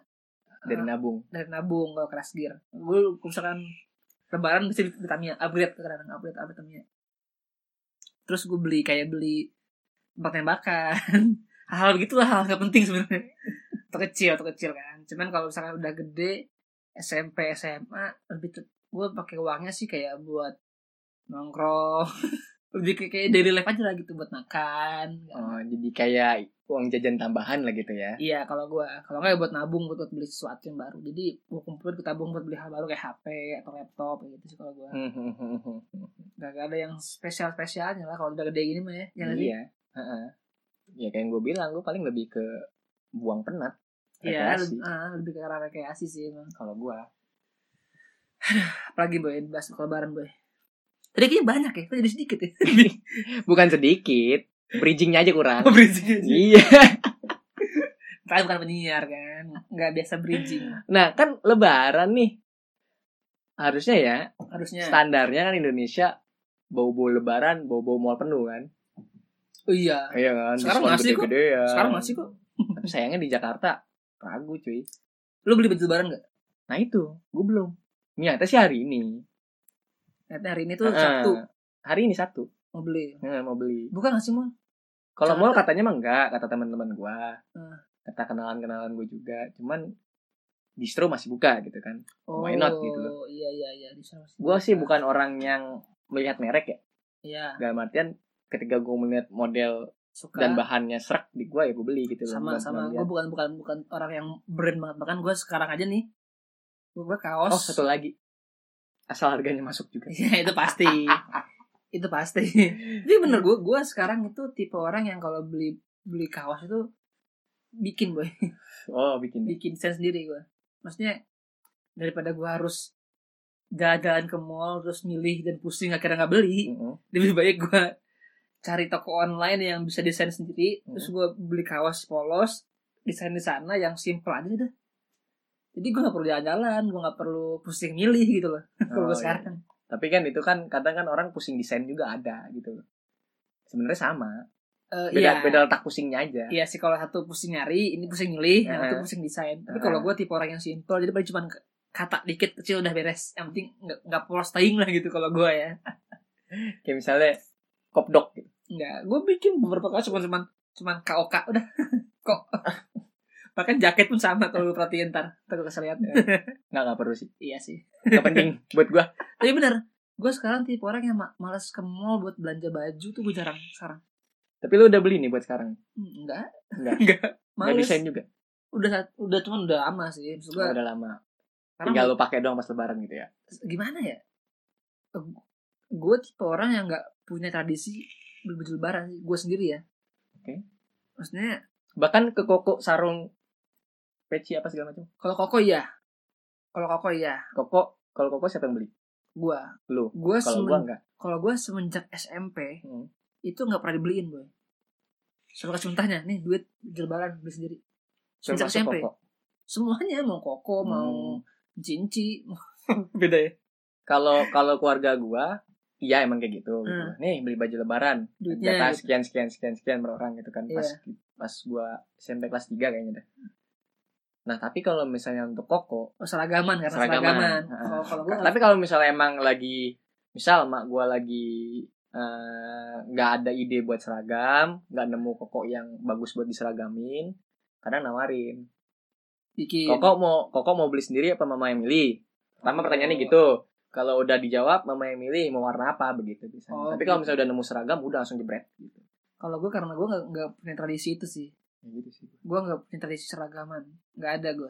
B: Ah.
A: dari nabung
B: dari nabung kalau keras gear gue misalkan lebaran mesti di Tamiya upgrade kadang upgrade upgrade Tamiya terus gue beli kayak beli tempat tembakan hal-hal begitulah hal nggak penting sebenarnya atau kecil atau kecil kan cuman kalau misalkan udah gede SMP SMA lebih te- gue pakai uangnya sih kayak buat nongkrong lebih kayak, kayak daily life aja lah gitu buat makan
A: oh, jadi kayak uang jajan tambahan lah gitu ya
B: Iya kalau gue kalau nggak ya buat nabung buat, buat beli sesuatu yang baru. Jadi gue kumpulin gue tabung buat beli hal baru kayak HP atau laptop kayak gitu sih kalau gue.
A: Hmm,
B: Gak, ada yang spesial spesialnya lah kalau udah gede gini mah ya. Ya nggak sih?
A: iya Heeh. ya kayak yang gue bilang gue paling lebih ke buang penat
B: Iya.
A: rekreasi
B: lebih- ah, lebih ke arah rekreasi sih emang.
A: kalau gue
B: Apalagi boy bahas lebaran boy. Tadi kayaknya banyak ya, kok jadi sedikit ya.
A: bukan sedikit bridgingnya aja kurang
B: Oh, bridging ya, aja.
A: iya
B: Kita bukan penyiar kan, nggak biasa bridging.
A: nah kan lebaran nih harusnya ya
B: Harusnya.
A: standarnya kan Indonesia bau-bau lebaran bau-bau mall penuh kan
B: Oh, iya.
A: iya kan
B: Sekarang
A: diskon
B: masih kok.
A: gede-gedean.
B: Sekarang masih kok.
A: tapi sayangnya di Jakarta ragu cuy
B: Lu beli baju lebaran nggak?
A: nah itu gue belum niatnya sih hari ini
B: Ternyata hari ini tuh
A: Heeh.
B: Sabtu
A: hari ini Sabtu
B: mau beli.
A: Heeh, mau beli
B: Bukan nggak sih mau?
A: Kalau
B: Cara-
A: mall katanya mah enggak, kata teman-teman gua.
B: Hmm.
A: Kata kenalan-kenalan gua juga, cuman distro masih buka gitu kan.
B: Oh,
A: Why not gitu loh.
B: Iya iya iya. Di sana masih
A: Gua sih
B: buka.
A: bukan orang yang melihat merek ya.
B: Iya.
A: Dalam artian ketika gua melihat model
B: Suka.
A: dan bahannya serak di gua ya gua beli gitu loh.
B: sama
A: Bukan
B: sama
A: cuma
B: gue
A: lihat.
B: bukan bukan bukan orang yang brand banget bahkan gue sekarang aja nih gue kaos
A: Oh, satu lagi. Asal harganya masuk juga.
B: Iya, itu pasti itu pasti tapi bener gue gue sekarang itu tipe orang yang kalau beli beli kaos itu bikin boy
A: Oh, bikin.
B: bikin desain sendiri gue maksudnya daripada gue harus jalan-jalan ke mall terus milih dan pusing akhirnya nggak beli
A: Mm-mm.
B: lebih baik gue cari toko online yang bisa desain sendiri
A: Hmm.
B: terus gue beli kaos polos desain di sana yang simple aja dah jadi gue gak perlu jalan-jalan gue gak perlu pusing milih gitu loh kalau
A: Oh, iya.
B: gue sekarang
A: Tapi kan itu kan kadang kan orang pusing desain juga ada gitu loh. Sebenarnya sama,
B: Eh,
A: beda
B: iya.
A: beda letak pusingnya aja.
B: Iya sih kalau satu pusing nyari ini pusing milih yang
A: Heeh.
B: satu pusing desain
A: Heeh.
B: tapi kalau gue tipe orang yang simple jadi paling cuman kata dikit kecil udah beres yang penting nggak nggak polos teing lah gitu kalau gue ya
A: Kayak misalnya kopdok gitu.
B: nggak gue bikin beberapa kaos cuman cuman cuman KOK udah kok bahkan jaket pun sama kalau lu perhatiin ntar ntar gue kesel lihat
A: Iya. Nggak, nggak perlu sih.
B: Iya sih.
A: Nggak penting buat gua.
B: Tapi bener, gue sekarang tipe orang yang ma- malas ke mall buat belanja baju tuh gue jarang sekarang.
A: Tapi lu udah beli nih buat sekarang.
B: Hmm, Enggak.
A: Enggak. Enggak
B: Males.
A: desain juga.
B: Udah saat- udah cuman udah lama sih. Maksud gue
A: Oh, udah lama.
B: sekarang
A: Tinggal lu pakai doang pas lebaran gitu ya.
B: gimana ya? Gue tipe orang yang nggak punya tradisi beli baju lebaran sih. Gue sendiri ya.
A: Oke.
B: Maksudnya
A: Bahkan ke koko sarung peci apa segala macam.
B: kalau koko iya. Kalau koko iya,
A: Koko kalau koko siapa yang beli?
B: gue.
A: Lu.
B: Gue
A: Kalau gua enggak.
B: kalau gue semenjak SMP
A: Hmm.
B: itu nggak pernah dibeliin gue. Selalu kasih mentahnya, nih duit baju lebaran beli sendiri. Semenjak
A: Termasuk
B: SMP.
A: koko.
B: semuanya mau koko mau
A: Hmm.
B: cinci beda ya
A: Kalau kalau keluarga gua Iya emang kayak gitu, gitu.
B: Hmm.
A: Nih beli baju lebaran
B: duitnya
A: Jatah
B: gitu. Iya.
A: sekian sekian sekian sekian per orang gitu kan Pas pas gua SMP kelas 3 kayaknya dah Nah tapi kalau misalnya untuk koko
B: Oh, seragaman karena
A: Seragaman.
B: seragaman,
A: Heeh.
B: kalau kalau gue
A: Ka- tapi kalau misalnya emang lagi misal mak gue lagi eh, nggak ada ide buat seragam nggak nemu koko yang bagus buat diseragamin kadang nawarin
B: bikin
A: koko mau koko mau beli sendiri apa mama yang milih pertama
B: Oh.
A: pertanyaannya gitu kalau udah dijawab mama yang milih mau warna apa begitu biasanya
B: Oh,
A: tapi kalau
B: gitu.
A: misalnya udah nemu seragam udah langsung jebret gitu
B: kalau gue karena gue nggak nggak punya tradisi itu sih
A: Ya gitu sih
B: gue nggak punya tradisi seragaman nggak ada gue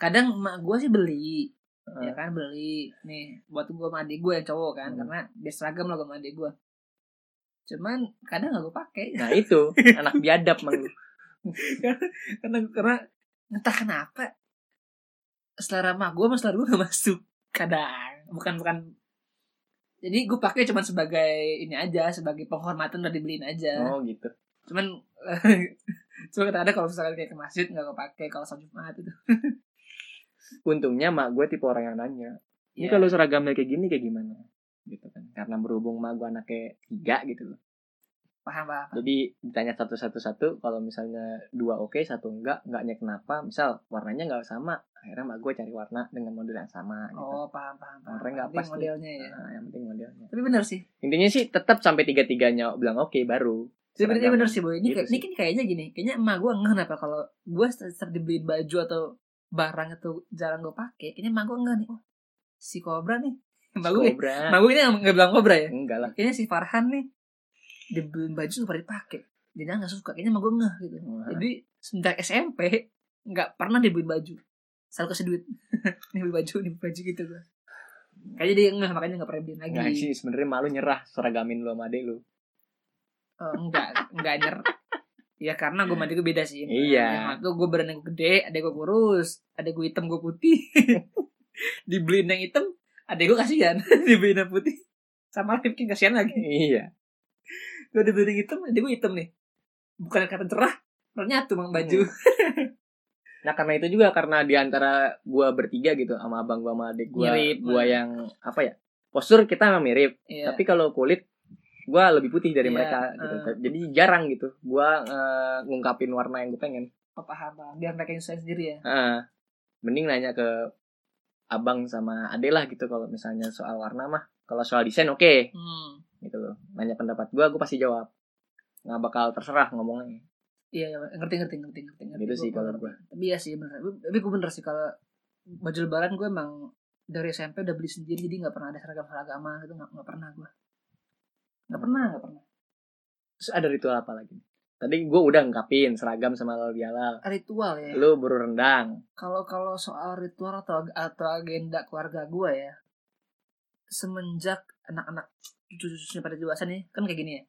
B: kadang emak gue sih beli
A: Heeh.
B: ya kan beli nih buat gue sama adik gue yang cowok kan
A: Hmm.
B: karena dia seragam lah gue sama adik gue cuman kadang nggak gue pakai
A: nah itu anak biadab mang
B: Ya. karena karena entah kenapa selera mah gue sama selera gue gak masuk kadang bukan bukan jadi gue pakai cuman sebagai ini aja sebagai penghormatan udah dibeliin aja
A: oh gitu
B: cuman cuma kadang ada kalau misalkan kayak ke masjid nggak gue pakai kalau sholat jumat itu
A: untungnya mak gue tipe orang yang nanya Ini
B: Ya.
A: kalau seragamnya kayak gini kayak gimana? Gitu kan. Karena berhubung mah gue anaknya tiga gitu loh.
B: paham paham
A: Jadi ditanya satu satu satu, kalau misalnya dua oke, satu enggak, enggaknya kenapa? Misal warnanya enggak sama, akhirnya mbak gue cari warna dengan model yang sama. Gitu.
B: oh paham paham paham
A: Orang nggak
B: Penting
A: pas nih.
B: modelnya ya
A: Nah, yang penting modelnya.
B: tapi bener sih
A: Intinya sih tetap sampai tiga tiganya bilang oke baru. Seragam.
B: sebenarnya bener sih boy ini
A: Gitu
B: kayak ini kan kayaknya gini kayaknya emak gue ngeh apa kalau gue setiap dibeliin baju atau barang atau jarang gue pakai kayaknya emak gue ngeh nih oh si kobra nih emak gue
A: Kobra.
B: emak gue ini yang nggak bilang kobra ya
A: Enggak lah.
B: kayaknya si Farhan nih dibeliin baju supaya dipakai jadi dia nggak suka kayaknya emak gue ngeh gitu jadi semenjak SMP nggak pernah dibeliin baju selalu kasih duit nih beli baju nih beli baju gitu gue kayaknya dia ngeh makanya nggak pernah beliin lagi
A: Enggak sih sebenarnya malu nyerah seragamin lu sama adek lu.
B: Eh, enggak enggak nyer ya karena gue mandi gue beda sih
A: Iya.
B: gue gue badannya gue gede ada gue kurus ada gue hitam gue putih dibeliin yang hitam ada gue kasihan dibeliin yang putih sama Rifki kasihan lagi
A: iya.
B: gue dibeliin yang hitam ada gue hitam nih bukan karena cerah karena nyatu mang baju
A: Hmm. Nah karena itu juga karena diantara gua bertiga gitu sama abang gua sama adik gua,
B: Mirip.
A: gua yang apa ya postur kita memang mirip,
B: Iya.
A: tapi kalau kulit gua lebih putih dari
B: Iya,
A: mereka gitu. Jadi jarang gitu gua eh, ngungkapin warna yang gue pengen.
B: Oh, paham paham biar mereka nyusahin sendiri ya
A: Heeh. mending nanya ke abang sama ade lah gitu kalau misalnya soal warna mah. Kalau soal desain oke
B: hmm.
A: gitu loh. Nanya pendapat gua, gua pasti jawab. Nggak bakal terserah ngomongnya.
B: iya iya, ngerti ngerti ngerti ngerti ngerti
A: Gitu
B: Gua-
A: sih
B: gua
A: kalau
B: ngerti.
A: gua.
B: tapi iya sih bener tapi gue bener sih kalau baju lebaran gue emang dari SMP udah beli sendiri jadi nggak pernah ada seragam seragama gitu nggak nggak pernah gue nggak pernah nggak pernah
A: Terus ada ritual apa lagi? Tadi gua udah ngungkapin seragam sama lalu
B: ritual ya
A: Lu buru rendang.
B: kalau kalau soal ritual atau atau agenda keluarga gue ya semenjak anak-anak cucu-cucunya pada dewasa nih kan kayak gini ya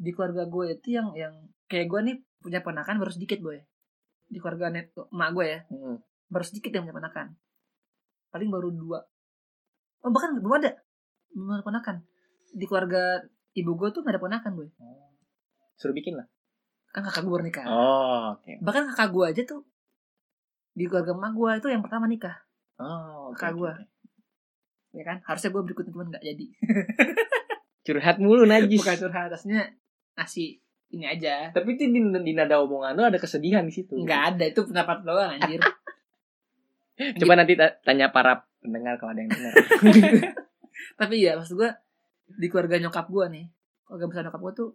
B: di keluarga gue itu yang yang kayak gue nih punya ponakan baru sedikit boy di keluarga net emak gue ya
A: Hmm.
B: baru sedikit yang punya ponakan paling baru dua oh bahkan belum ada belum ada ponakan di keluarga ibu gue tuh gak ada ponakan boy
A: Suruh bikin lah.
B: kan kakak gue baru nikah
A: Oh, oke.
B: bahkan kakak gue aja tuh di keluarga emak gue itu yang pertama nikah
A: Oh, oke,
B: Kakak
A: oke,
B: gua.
A: oke.
B: ya kan harusnya gue berikutnya cuman nggak jadi
A: Curhat mulu najis.
B: bukan curhat atasnya ngasih ini aja
A: Tapi itu di, di nada omongan lu ada kesedihan di situ.
B: nggak ada itu pendapat doang anjir
A: Coba nanti ta- tanya para pendengar kalau ada yang dengar.
B: tapi ya maksud gue di keluarga nyokap gue nih keluarga besar nyokap gue tuh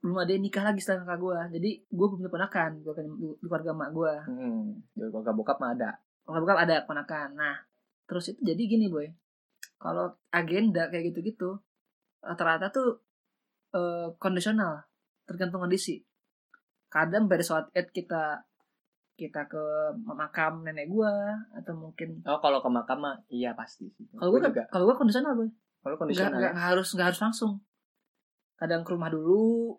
B: belum ada yang nikah lagi setelah kakak gue jadi gue belum punya ponakan gua kan- di keluarga emak gue
A: hmm. Jual keluarga bokap mah ada.
B: kalau bukan ada ponakan nah terus itu jadi gini boy kalau agenda kayak gitu-gitu rata-rata tuh eh, kondisional tergantung kondisi kadang pada saat id kita kita ke makam nenek gua atau mungkin
A: Oh, kalau ke makam mah iya pasti.
B: kalau gua
A: Gua
B: kan- kalau gua kondisional boy
A: Kalau
B: nggak
A: kondisional. ya.
B: nggak nggak harus nggak harus langsung kadang ke rumah dulu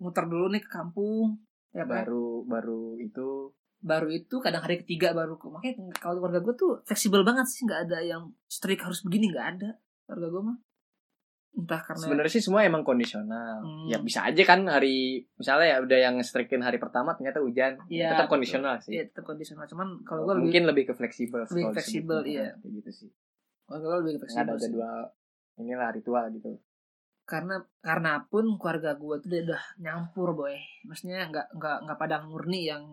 B: muter dulu nih ke kampung ya kan?
A: baru baru itu
B: baru itu kadang hari ketiga baru ke makanya kalau keluarga gue tuh fleksibel banget sih nggak ada yang strict harus begini nggak ada keluarga gue mah entah karena
A: sebenarnya sih semua emang kondisional.
B: Hmm.
A: Ya bisa aja kan hari misalnya ya udah yang strikin hari pertama ternyata hujan. Ya
B: Iya,
A: tetap
B: betul.
A: kondisional sih. Oh,
B: ya tetap kondisional cuman kalau gue lebih
A: mungkin lebih ke fleksibel sih
B: lebih
A: kalau disebut.
B: fleksibel, iya.
A: kayak gitu sih
B: keluarga gue lebih
A: nggak ada
B: fleksibel sih.
A: jadwal inilah ritual gitu
B: karena karena pun keluarga gue tuh udah, udah nyampur boy maksudnya nggak nggak nggak padang murni yang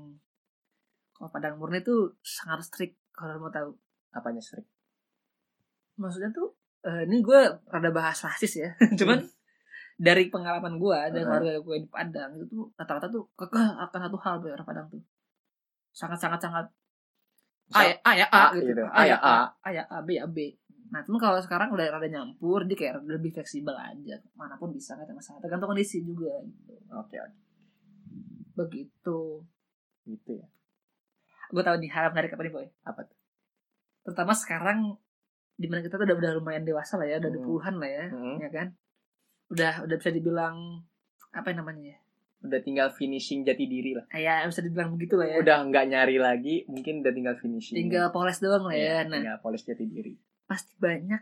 B: kalau padang murni tuh sangat strict kalau lu mau tahu
A: apanya strik
B: maksudnya tuh eh, ini gue rada bahas rasis ya cuman dari pengalaman gue dan
A: Uh-huh.
B: keluarga gue di Padang itu tuh rata-rata tuh kekeh akan satu hal Boy, orang Padang tuh sangat sangat sangat a ya a ya a
A: A
B: gitu
A: gitu.
B: a ya a
A: A.
B: a ya a b ya b nah cuma kalau sekarang udah rada nyampur dia kayak lebih fleksibel aja manapun bisa nggak ada masalah tergantung kondisi juga gitu
A: oke oke
B: begitu
A: gitu ya
B: gue tahu nih hal menarik apa nih boy
A: apa tuh
B: terutama sekarang dimana kita tuh udah, udah lumayan dewasa lah ya udah di
A: Hmm.
B: puluhan lah ya
A: Mm-mm.
B: ya kan udah udah bisa dibilang apa namanya ya
A: udah tinggal finishing jati diri lah
B: kayak bisa dibilang begitu lah ya
A: udah nggak nyari lagi mungkin udah tinggal finishing
B: tinggal poles doang lah ya
A: Iya,
B: nah
A: tinggal polis jati diri
B: pasti banyak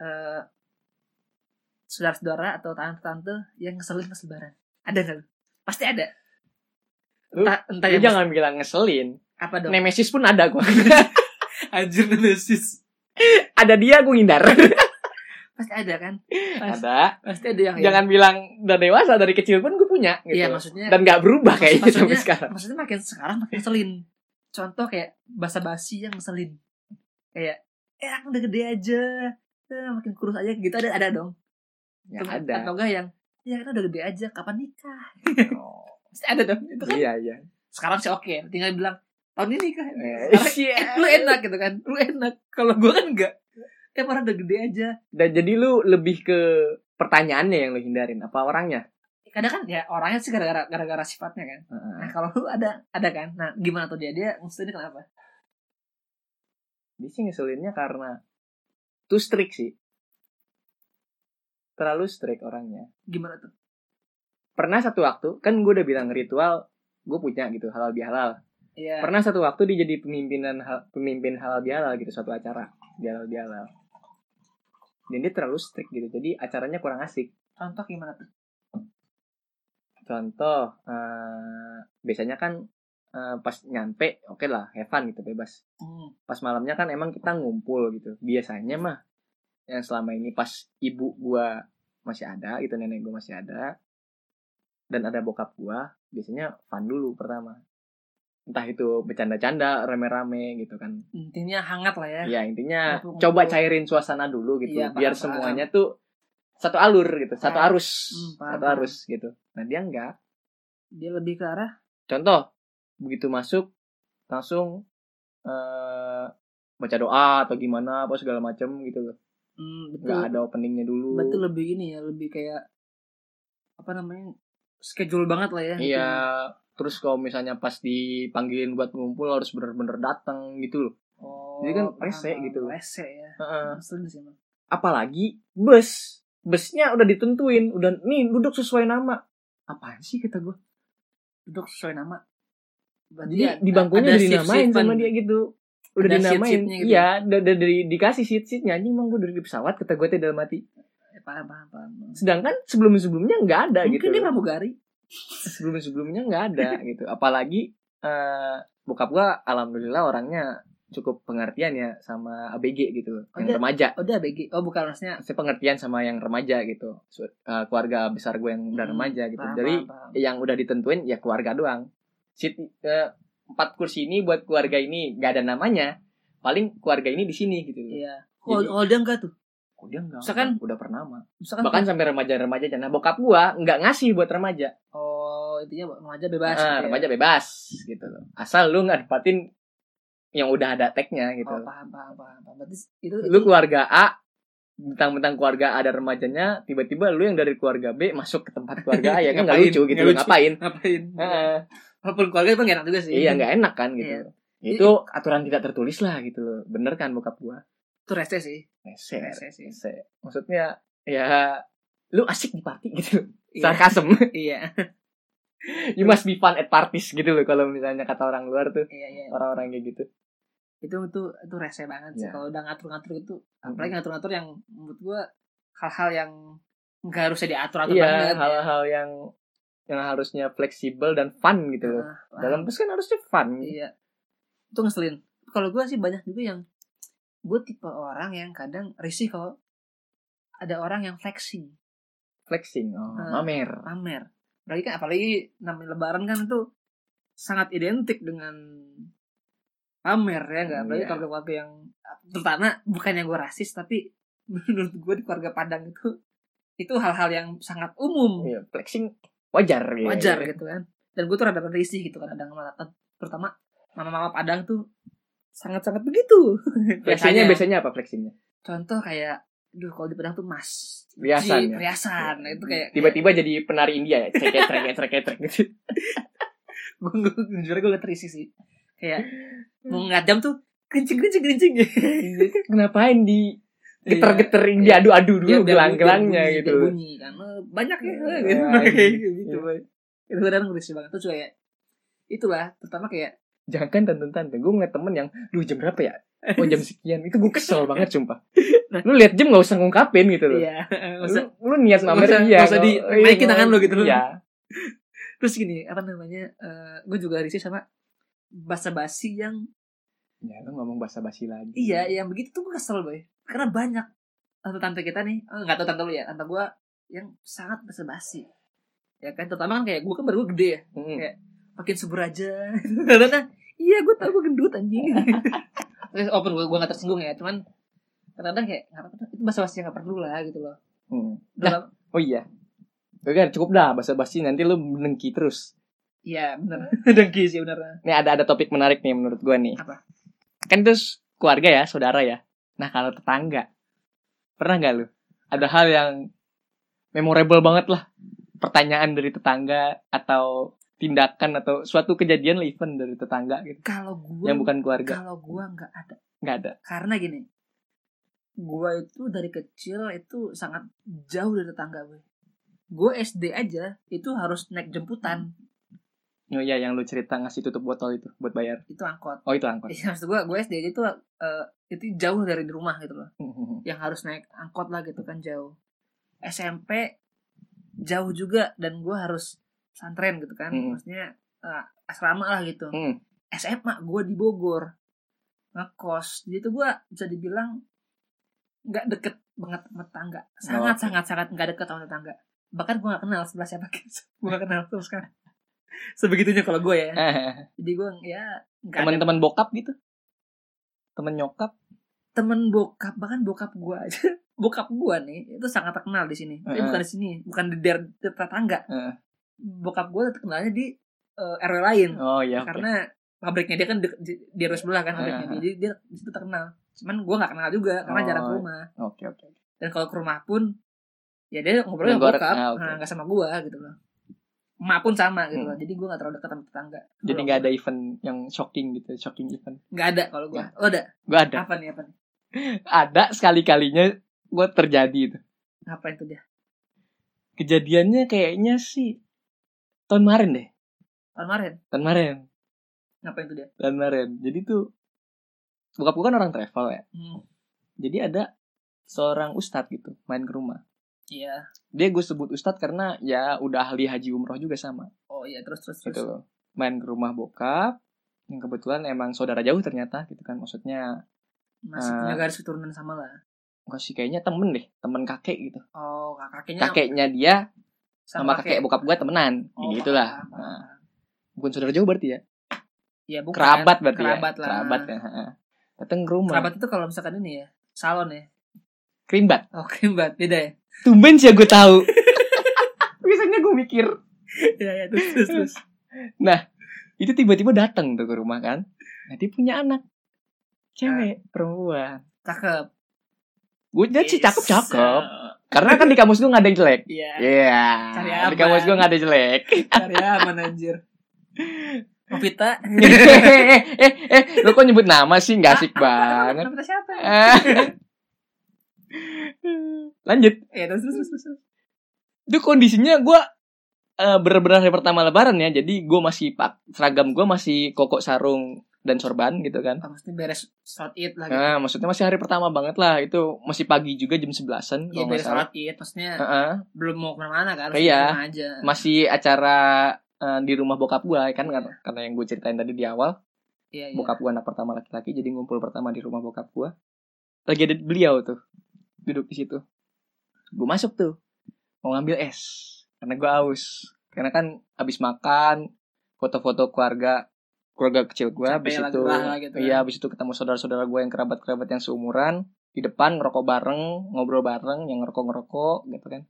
B: eh saudara-saudara atau tante-tante yang ngeselin pas lebaran ada nggak lu? pasti ada
A: Lu-
B: entah, entah
A: Lu
B: Nah, yang
A: jangan bilang ngeselin
B: apa dong
A: nemesis pun ada gua
B: anjir nemesis
A: ada dia gua ngindar
B: pasti ada kan Mas-
A: ada
B: pasti ada yang ya.
A: jangan bilang udah dewasa dari kecil pun gue punya gitu
B: Oh, iya maksudnya
A: dan nggak berubah kayaknya
B: Maksud-
A: sampai
B: maksudnya-
A: sekarang
B: maksudnya makin sekarang makin ngeselin contoh kayak bahasa basi yang ngeselin kayak eh aku udah gede aja eh, makin kurus aja gitu ada ada dong
A: ya
B: Atau-
A: ada
B: atau enggak yang ya kan udah gede aja kapan nikah
A: Oh,
B: Pasti ada dong itu kan
A: iya iya
B: sekarang sih oke tinggal bilang tahun ini nikah
A: Eh,
B: Sekarang,
A: iya.
B: eh, lu enak gitu kan lu enak kalau gua kan enggak eh orang udah gede aja
A: dan jadi lu lebih ke pertanyaannya yang lu hindarin apa orangnya
B: kadang kan ya orangnya sih gara-gara gara-gara sifatnya kan
A: Heeh.
B: nah kalau lu ada ada kan nah gimana tuh dia dia maksudnya kenapa
A: dia sih ngeselinnya karena too strict sih terlalu strict orangnya
B: gimana tuh
A: pernah satu waktu kan gue udah bilang ritual gue punya gitu halal bihalal
B: Iya.
A: pernah satu waktu dia jadi pemimpinan hal- pemimpin halal bihalal gitu suatu acara bihalal bihalal dan dia terlalu strict gitu jadi acaranya kurang asik
B: contoh gimana tuh
A: contoh eh, biasanya kan eh, pas nyampe oke lah have fun gitu bebas
B: Hmm.
A: pas malamnya kan emang kita ngumpul gitu biasanya mah yang selama ini pas ibu gua masih ada gitu nenek gua masih ada dan ada bokap gua biasanya fun dulu pertama entah itu bercanda-canda rame-rame gitu kan
B: intinya hangat lah
A: ya
B: ya.
A: intinya
B: Ngumpul-ngumpul.
A: coba cairin suasana dulu gitu
B: Iya, paham,
A: biar
B: paham.
A: semuanya tuh satu alur gitu satu
B: Paham.
A: arus
B: Hmm, paham,
A: satu
B: paham.
A: arus gitu nah dia enggak
B: Dia lebih ke arah
A: contoh begitu masuk langsung eh baca doa atau gimana apa segala macem gitu loh
B: hmm, betul.
A: nggak ada openingnya dulu
B: Berarti lebih ini ya, lebih kayak apa namanya? schedule banget lah ya.
A: iya terus kalau misalnya pas dipanggilin buat ngumpul harus bener-bener datang gitu loh
B: Oh,
A: Jadi kan
B: paham,
A: rese
B: paham.
A: gitu.
B: Rese ya.
A: Heeh.
B: Ngeselin sih emang.
A: apalagi bus busnya udah ditentuin udah nih duduk sesuai nama apaan sih kata gue
B: Duduk sesuai nama. Berarti
A: jadi
B: ya,
A: di bangkunya
B: ada kan.
A: udah dinamain
B: shift-shiftan.
A: sama dia gitu udah
B: Ada
A: dinamain
B: sheet-sheetnya gitu.
A: iya udah udah di- dikasih sheet sheetnya anjing emang gue dari pesawat kata gue tidak mati
B: Eh, paham, paham, paham.
A: sedangkan sebelum sebelumnya nggak ada
B: Mungkin
A: gitu
B: dia pramugari.
A: sebelum-sebelumnya nggak ada gitu. Apalagi eh bokap gua alhamdulillah orangnya cukup pengertian ya sama ABG gitu, yang
B: Ada.
A: remaja.
B: Oh, dia BG. Oh, bukan maksudnya.
A: Saya pengertian sama yang remaja gitu. Su- eh, keluarga besar gue yang udah
B: Hmm,
A: remaja gitu.
B: paham,
A: Jadi
B: paham, paham.
A: yang udah ditentuin ya keluarga doang. Sit eh, empat kursi ini buat keluarga ini nggak ada namanya. Paling keluarga ini di sini gitu.
B: Iya. Oh,
A: Jadi-
B: oh, dia enggak tuh.
A: Oh, dia nggak,
B: Misalkan-
A: udah pernah
B: Misalkan gitu.
A: Bahkan sampai remaja-remaja aja. Nah, bokap gua nggak ngasih buat remaja.
B: oh, intinya remaja bebas.
A: Ah,
B: gitu ya.
A: remaja bebas gitu loh. Asal lu nggak dapatin yang udah ada tag-nya gitu.
B: Oh, paham, paham, paham. paham. Berarti itu
A: lu keluarga A, bentang-bentang keluarga A ada remajanya, tiba-tiba lu yang dari keluarga B masuk ke tempat keluarga A ya kan nggak
B: Ngapain?
A: lucu gitu
B: Nggak
A: lu
B: lucu.
A: ngapain?
B: ngapain?
A: Heeh.
B: Walaupun keluarga itu nggak enak juga sih.
A: iya nggak enak kan gitu.
B: Iya.
A: Itu aturan tidak tertulis lah gitu loh. Bener kan bokap gua?
B: Itu rese sih.
A: Rese,
B: Rese sih.
A: rese. Maksudnya ya lu asik di party gitu.
B: Iya.
A: Sarkasem.
B: Iya.
A: you must be fun at parties gitu loh kalau misalnya kata orang luar tuh,
B: Iya, iya.
A: orang-orang kayak gitu.
B: Itu itu itu rese banget sih
A: Iya. Hmm.
B: kalau udah ngatur-ngatur itu. Apalagi ngatur-ngatur yang menurut gua hal-hal yang nggak harusnya diatur-atur
A: Iya,
B: banget. ya.
A: hal-hal yang yang harusnya fleksibel dan fun gitu loh.
B: Nah, wah,
A: Dalam bus kan harusnya fun.
B: iya. Itu ngeselin. Kalau gua sih banyak juga yang gue tipe orang yang kadang risih kalau ada orang yang flexing,
A: Flexing, oh,
B: Hmm.
A: mamer.
B: pamer. Apalagi kan apalagi namanya lebaran kan itu sangat identik dengan pamer ya nggak apalagi
A: Iya.
B: keluarga-keluarga yang terutama bukan yang gue rasis tapi menurut gue di keluarga Padang itu itu hal-hal yang sangat umum
A: Iya, flexing wajar gitu.
B: wajar gitu kan dan gue tuh rada risih gitu kan ada terutama mama-mama Padang tuh sangat-sangat begitu
A: Flexingnya biasanya apa flexingnya?
B: contoh kayak duh kalau di Padang tuh mas
A: Riasan ya?
B: Ji, riasan Nah, itu kayak
A: Tiba-tiba jadi penari India ya, ceketrek ceketrek ceketrek gitu.
B: gue jujur gue liat risih sih kayak
A: Hmm.
B: mau ngeliat jam tuh gerincing gerincing gerincing
A: Iya, Ngapain di
B: Iya.
A: geter-geterin
B: Iya.
A: diadu-adu
B: Biar-
A: dulu
B: biar
A: gelang-gelangnya
B: bunyi-
A: gitu.
B: biar bunyi kan Eh, banyak
A: Iya,
B: ya eh, gitu
A: iya.
B: kayak gitu
A: Iya.
B: boy itu kadang ngerisih banget terus juga ya itulah pertama kayak
A: Jangan kan tante-tante, gue ngeliat temen yang, duh jam berapa ya? Oh jam sekian, itu gue kesel banget sumpah. Lu lihat jam gak usah ngungkapin gitu loh.
B: Nah. iya masa-
A: lu, lu niat
B: nggak
A: mamer
B: usah-
A: iya.
B: nggak usah di-
A: kalau- iya,
B: naikin tangan lu gitu.
A: Iya.
B: terus gini apa namanya eh, gue juga risih sama bahasa basi yang
A: Ya Iya, lu ngomong bahasa basi lagi.
B: iya yang begitu tuh gue kesel boy karena banyak atau tante kita nih eh, nggak tahu tante lu ya tante gue yang sangat basa basi ya kan terutama kan kayak gue kan baru gua gede ya
A: Mm.
B: makin subur aja karena iya gue tau gue gendut anjing terus open gue gue nggak tersinggung ya cuman kadang-kadang kayak nggak apa-apa itu bahasa basi nggak perlu lah gitu loh
A: Mm.
B: dalam
A: Oh iya. Oke, cukup dah bahasa basi nanti lu menengki terus.
B: iya benar dengki sih benar
A: Nih ada ada topik menarik nih menurut gua nih.
B: Apa?
A: Kan terus keluarga ya, saudara ya. Nah, kalau tetangga. Pernah nggak lu? Ada hal yang memorable banget lah. Pertanyaan dari tetangga atau tindakan atau suatu kejadian lah event dari tetangga gitu.
B: kalau gue
A: Yang bukan keluarga.
B: kalau gue nggak ada
A: Nggak ada.
B: karena gini gue itu dari kecil itu sangat jauh dari tetangga gue gue SD aja itu harus naik jemputan
A: Oh iya, yang lu cerita ngasih tutup botol itu buat bayar.
B: itu angkot
A: Oh, itu angkot.
B: Iya, maksud gue gue SD aja itu eh, itu jauh dari rumah gitu loh
A: Hmm,
B: yang harus naik angkot lah gitu kan jauh SMP jauh juga dan gue harus santren gitu kan
A: Mm-mm.
B: maksudnya eh, asrama lah gitu
A: Hmm.
B: SMA gue di Bogor ngekos jadi tuh gue bisa dibilang nggak deket banget sama tetangga sangat
A: oke.
B: sangat sangat nggak deket sama tetangga bahkan gue nggak kenal sebelah siapa gue nggak kenal terus kan sebegitunya kalau gue ya jadi gue ya nggak ada
A: Hmm. Teman-teman bokap gitu. Temen nyokap.
B: temen bokap bahkan bokap gue aja bokap gue nih itu sangat terkenal di sini tapi
A: Heeh.
B: bukan di sini bukan di daerah di tetangga
A: Heeh.
B: bokap gue terkenalnya di eh, RW lain
A: Oh iya, oke.
B: karena pabriknya dia kan dek- di, di RW sebelah kan pabriknya
A: Heeh.
B: jadi dia di situ terkenal cuman gue nggak kenal juga karena
A: Oh,
B: jarang ke rumah
A: Oke, oke.
B: dan kalau ke rumah pun ya dia ngobrol sama
A: Negor-
B: bokap
A: ah,
B: nah,
A: oke.
B: nggak sama gue gitu loh emak pun sama gitu
A: Hmm.
B: loh jadi gue nggak terlalu dekat sama tetangga
A: Jadi nggak ada event yang shocking gitu, shocking event.
B: nggak ada kalau
A: Ya.
B: gue lo ada
A: Gue ada,
B: apa nih apa nih
A: ada sekali kalinya gue terjadi itu.
B: ngapain tuh dia
A: Kejadiannya kayaknya sih tahun kemarin deh,
B: tahun kemarin
A: tahun kemarin,
B: ngapain tuh dia
A: tahun kemarin. Jadi tuh bokap gue kan orang travel ya.
B: Hmm,
A: Jadi ada seorang ustadz gitu main ke rumah.
B: iya
A: Dia gue sebut ustadz karena ya udah ahli haji umroh juga sama
B: Oh iya terus terus terus.
A: gitu loh. Main ke rumah bokap yang kebetulan emang saudara jauh ternyata gitu kan maksudnya
B: Masih
A: Eh.
B: punya garis keturunan sama lah.
A: kasih kayaknya temen deh temen kakek gitu
B: Oh kak- kakeknya
A: kakeknya dia sama kakek bokap gue temenan
B: Oh,
A: gitu lah
B: paham, paham,
A: Nah,
B: paham.
A: bukan saudara jauh berarti ya
B: Iya bukan.
A: kerabat berarti
B: Kerabat
A: ya
B: lah.
A: kerabat ya ha-ha. datang ke rumah
B: Kerabat itu kalau misalkan ini ya salon ya.
A: kerimbat
B: Oke mbak beda ya.
A: tumben sih ya gue tahu biasanya gue mikir
B: Iya iya terus terus terus.
A: Nah, itu tiba-tiba datang tuh ke rumah kan nah dia punya anak
B: Ah.
A: cewek perempuan
B: Cakep.
A: gue jadi sih
B: Yes.
A: Ya, cakep cakep karena kan di kampus gue nggak ada yang jelek
B: Iya.
A: Iya,
B: Cari
A: di
B: aman.
A: kampus gue nggak ada yang jelek.
B: Karya anjir. Novita.
A: eh, eh, eh, lo kok nyebut nama sih nggak asik banget.
B: Novita siapa?
A: Eh. Lanjut.
B: Iya terus terus terus, terus.
A: Itu kondisinya gue eh bener-bener hari pertama lebaran ya. Jadi gue masih pak seragam gue masih kokok sarung dan sorban gitu kan.
B: Ah, Maksudnya beres sholat id lah gitu.
A: Nah, maksudnya masih hari pertama banget lah. Itu masih pagi juga jam 11-an
B: Iya
A: kalau nggak
B: beres
A: salah.
B: sholat id. Maksudnya
A: Heeh.
B: belum mau kemana-mana kan.
A: Eh. Iya.
B: Iya. aja.
A: Masih acara eh, di rumah bokap gue kan karena, karena yang gue ceritain tadi di awal
B: Iya iya.
A: bokap gue anak pertama laki-laki jadi ngumpul pertama di rumah bokap gue lagi ada beliau tuh duduk di situ gue masuk tuh mau ngambil es karena gue haus karena kan abis makan foto-foto keluarga keluarga kecil gue
B: Capek
A: abis
B: lah,
A: itu
B: gerah lah gitu kan.
A: iya abis itu ketemu saudara-saudara gue yang kerabat-kerabat yang seumuran di depan ngerokok bareng ngobrol bareng yang ngerokok-ngerokok gitu kan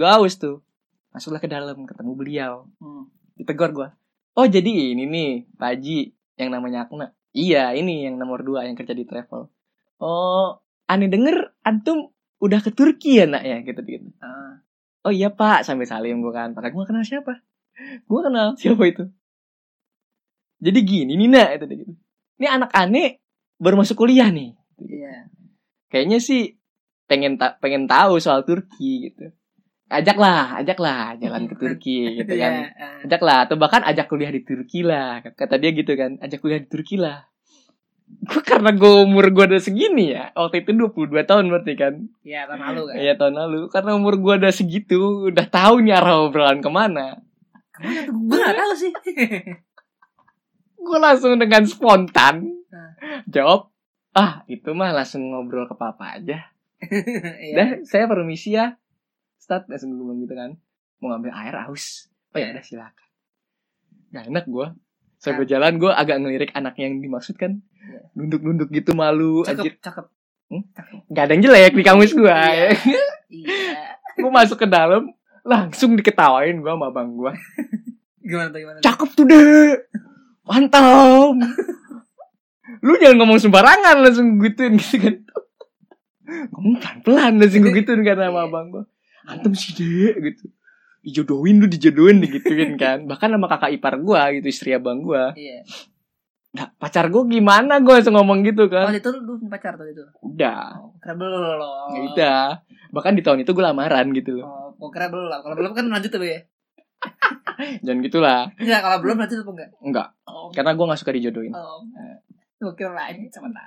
A: gue haus tuh masuklah ke dalam ketemu beliau
B: Hmm.
A: ditegur gua oh jadi ini nih Pak Haji yang namanya Akna iya ini yang nomor dua yang kerja di travel oh aneh denger antum udah ke Turki ya nak ya gitu gitu
B: Ah.
A: oh iya pak sambil salim gua kan pak gua kenal siapa gua kenal siapa itu jadi gini nih nak itu gitu ini anak aneh baru masuk kuliah nih
B: Iya.
A: kayaknya sih pengen ta- pengen tahu soal Turki gitu ajaklah ajaklah jalan ke Turki gitu kan
B: Iya, ah.
A: ajak lah atau bahkan ajak kuliah di Turki lah kata dia gitu kan ajak kuliah di Turki lah gue karena gue umur gue udah segini ya waktu itu 22 tahun berarti kan
B: Iya tahun lalu kan.
A: iya tahun lalu karena umur gue udah segitu udah tahu nih arah obrolan kemana
B: Kemana tuh? Gue gak tau sih.
A: gue langsung dengan spontan
B: Nah.
A: jawab ah itu mah langsung ngobrol ke papa aja
B: Iya.
A: Dah, saya permisi ya. Start langsung gue bilang gitu kan. Mau ngambil air haus. Oh ya, udah silakan. Gak enak gue. Saya
B: Kan.
A: berjalan gue agak ngelirik anak yang dimaksud kan.
B: Iya.
A: Nunduk-nunduk gitu malu. Anjir,
B: cakep, cakep.
A: gak ada yang jelek di kamus gue.
B: Iya. Iya.
A: gue masuk ke dalam. Langsung diketawain gue sama abang gue.
B: Gimana tuh gimana? tuh?
A: Cakep tuh deh. Mantap. Lu jangan ngomong sembarangan langsung gituin gitu kan. Ngomong pelan-pelan langsung gue gituin kan sama
B: Iya.
A: abang gue. Antum sih deh gitu. Dijodohin lu dijodohin digituin kan. Bahkan sama kakak ipar gue gitu istri abang gue.
B: Iya.
A: Nah, pacar gue gimana gue langsung ngomong gitu kan.
B: Waktu itu lu punya pacar tuh itu.
A: Udah.
B: Oh, kira belum.
A: Ya udah. Bahkan di tahun itu gue lamaran gitu loh.
B: Oh, gua kira belum. Kalau belum kan lanjut tuh ya.
A: Jangan gitulah.
B: Enggak, kalau belum lanjut apa enggak?
A: Enggak.
B: Oh.
A: Karena gue gak suka dijodohin.
B: Oh. Gua kira lanjut sama tak.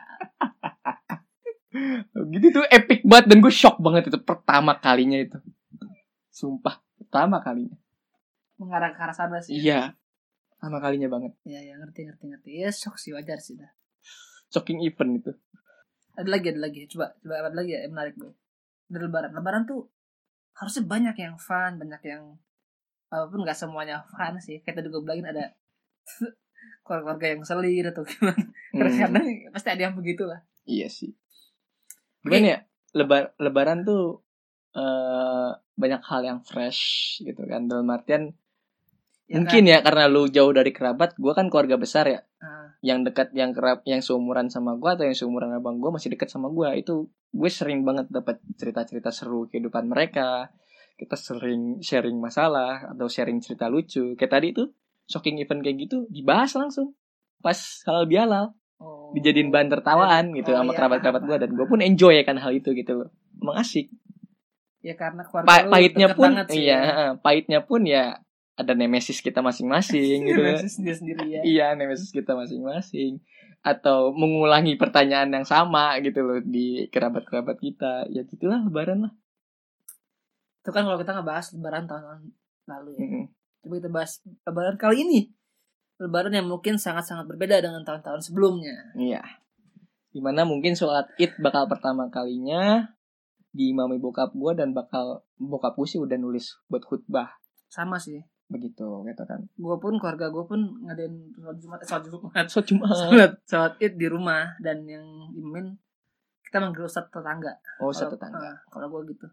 A: Gitu tuh epic banget dan gue shock banget itu pertama kalinya itu. Sumpah, pertama kalinya.
B: Mengarah ke arah sana sih.
A: Iya. Pertama kalinya banget.
B: Iya, ya, ngerti, ngerti, ngerti. Ya, shock sih wajar sih dah.
A: Shocking event itu.
B: Ada lagi, ada lagi. Coba, coba ada lagi ya, yang menarik gue. Dari lebaran. Lebaran tuh harusnya banyak yang fun, banyak yang walaupun nggak semuanya fun sih. Kayak tadi gue bilangin ada keluarga yang selir atau gimana.
A: Hmm,
B: Kadang-kadang pasti ada yang begitu lah.
A: iya sih. Gimana ya? Lebar lebaran tuh eh banyak hal yang fresh gitu kan. Dalam artian
B: kan?
A: mungkin ya karena lu jauh dari kerabat, gua kan keluarga besar ya.
B: Ah.
A: Yang dekat yang kerap yang seumuran sama gua atau yang seumuran abang gua masih dekat sama gua itu gue sering banget dapat cerita-cerita seru kehidupan mereka. Kita sering sharing masalah atau sharing cerita lucu. Kayak tadi tuh shocking event kayak gitu dibahas langsung pas halal bihalal
B: Oh.
A: dijadiin bahan tertawaan gitu
B: Oh,
A: sama
B: iya,
A: kerabat-kerabat
B: paham,
A: gue dan gue pun enjoy akan hal itu gitu loh emang asik
B: Ya karena keluarga
A: Pa-
B: lu
A: pahitnya
B: deket
A: pun
B: banget sih
A: iya
B: ya.
A: heeh, pahitnya pun ya ada nemesis kita masing-masing gitu
B: Nemesis dia sendiri ya.
A: iya nemesis kita masing-masing atau mengulangi pertanyaan yang sama gitu loh di kerabat-kerabat kita ya gitulah lebaran lah
B: Itu kan kalau kita ngebahas lebaran tahun lalu ya.
A: Mm-mm.
B: Coba kita bahas lebaran kali ini. Lebaran yang mungkin sangat-sangat berbeda dengan tahun-tahun sebelumnya.
A: iya dimana mungkin sholat id bakal pertama kalinya di mami bokap gue dan bakal bokap gue sih udah nulis buat khutbah
B: Sama sih.
A: begitu gitu kan
B: Gue pun keluarga gue pun ngadain sholat Jumat, eh, sholat Jumat.
A: so cuma
B: Sholat, sholat id di rumah dan yang imin kita manggil ustadz tetangga.
A: oh satu
B: Kalau-
A: tangga
B: ah, Kalau gue gitu.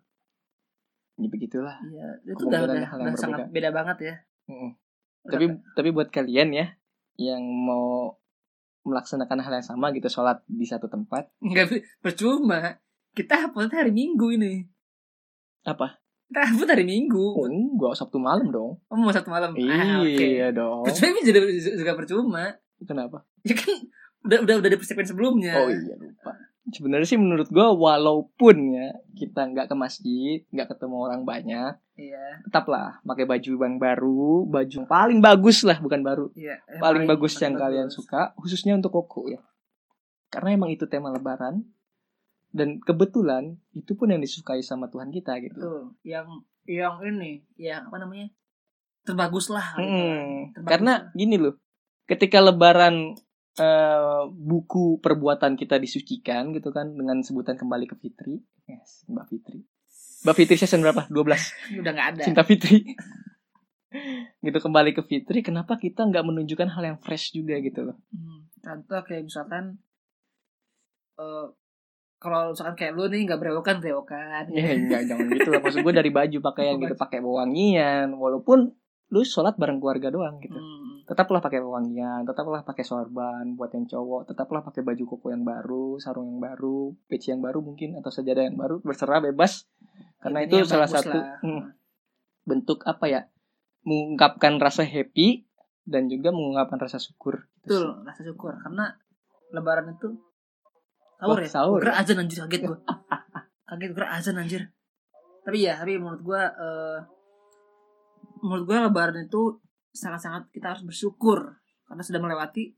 A: ya begitulah
B: Iya, itu udah,
A: Kemungkinan hal
B: udah,
A: yang
B: udah
A: berbeda.
B: sangat beda banget ya.
A: Mm-mm.
B: Udah
A: tapi tapi buat kalian ya yang mau melaksanakan hal yang sama gitu sholat di satu tempat
B: Enggak percuma. Kita upload hari Minggu ini.
A: Apa?
B: Kita upload hari Minggu.
A: oh, enggak sabtu malam dong
B: Oh, mau satu malam. Ah, oke.
A: iya dong
B: Percuma ini jadi juga percuma.
A: kenapa
B: Ya kan udah udah udah dipersiapin sebelumnya.
A: oh iya lupa sebenarnya sih menurut gua walaupun ya kita nggak ke masjid nggak ketemu orang banyak
B: Iya.
A: tetaplah pakai baju yang baru baju yang paling bagus lah bukan baru
B: Iya. Yang
A: paling bagus yang
B: paling
A: kalian
B: bagus.
A: suka khususnya untuk koko ya karena emang itu tema lebaran dan kebetulan itu pun yang disukai sama Tuhan kita gitu
B: Tuh, yang yang ini, yang apa namanya? Terbagus lah. gitu.
A: Mm-mm.
B: Terbagus
A: Hmm. karena gini loh ketika lebaran eh, buku perbuatan kita disucikan gitu kan dengan sebutan kembali ke Fitri yes Mbak Fitri Mbak Fitri season berapa 12
B: Ini Udah nggak ada.
A: Cinta Fitri gitu kembali ke Fitri kenapa kita nggak menunjukkan hal yang fresh juga gitu loh
B: Hmm, contoh kayak misalkan eh kalau misalkan kayak lu nih nggak berewokan berewokan.
A: Ya enggak jangan gitu lah maksud gue dari baju pakaian gitu pakai wewangian walaupun lu sholat bareng keluarga doang gitu.
B: Hmm.
A: Tetaplah pakai wewangian, tetaplah pakai sorban buat yang cowok, tetaplah pakai baju koko yang baru, sarung yang baru, peci yang baru mungkin atau sejadah yang baru berserah bebas karena
B: Intinya
A: itu salah
B: bagus
A: satu
B: lah.
A: hmm, bentuk apa ya mengungkapkan rasa happy dan juga mengungkapkan rasa syukur.
B: Betul, rasa syukur karena lebaran itu sahur
A: Wah,
B: ya.
A: sahur
B: Gerak azan anjir kaget gue. kaget gerak azan anjir. Tapi ya, tapi menurut gue eh menurut gue lebaran itu sangat-sangat kita harus bersyukur karena sudah melewati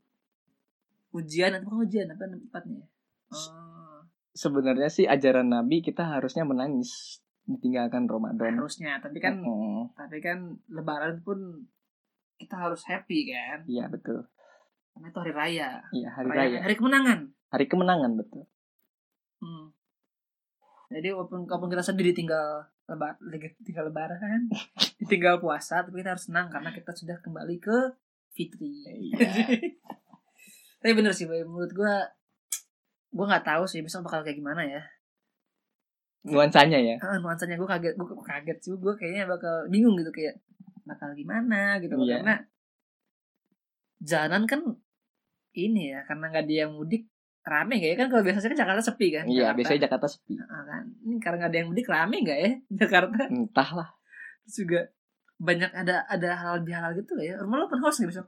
B: ujian atau bukan ujian apa namanya tempatnya? ya? Eh,
A: Sebenarnya sih ajaran Nabi kita harusnya menangis ditinggalkan Ramadan.
B: harusnya, tapi kan
A: Mm.
B: tapi kan lebaran pun kita harus happy kan
A: Iya betul.
B: karena itu hari raya kan?
A: Iya hari
B: hari,
A: raya.
B: hari kemenangan
A: Hari kemenangan betul.
B: Hmm. Jadi walaupun walaupun kita sedih ditinggal lebar, ditinggal lebaran, ditinggal puasa, tapi kita harus senang karena kita sudah kembali ke fitri.
A: Iya.
B: tapi bener sih, Boy. menurut gue, gue nggak tahu sih besok bakal kayak gimana ya.
A: nuansanya ya
B: Ah, nuansanya gue kaget, gue kaget sih, gue kayaknya bakal bingung gitu kayak bakal gimana gitu loh.
A: Iya.
B: karena jalanan kan ini ya karena nggak dia mudik rame gak ya kan kalau biasanya kan Jakarta sepi kan
A: iya
B: Jakarta.
A: biasanya Jakarta sepi
B: Ah, kan ini karena nggak ada yang mudik rame nggak ya Jakarta
A: entahlah
B: Terus juga banyak ada ada hal bihalal gitu lah ya rumah lo open house nggak besok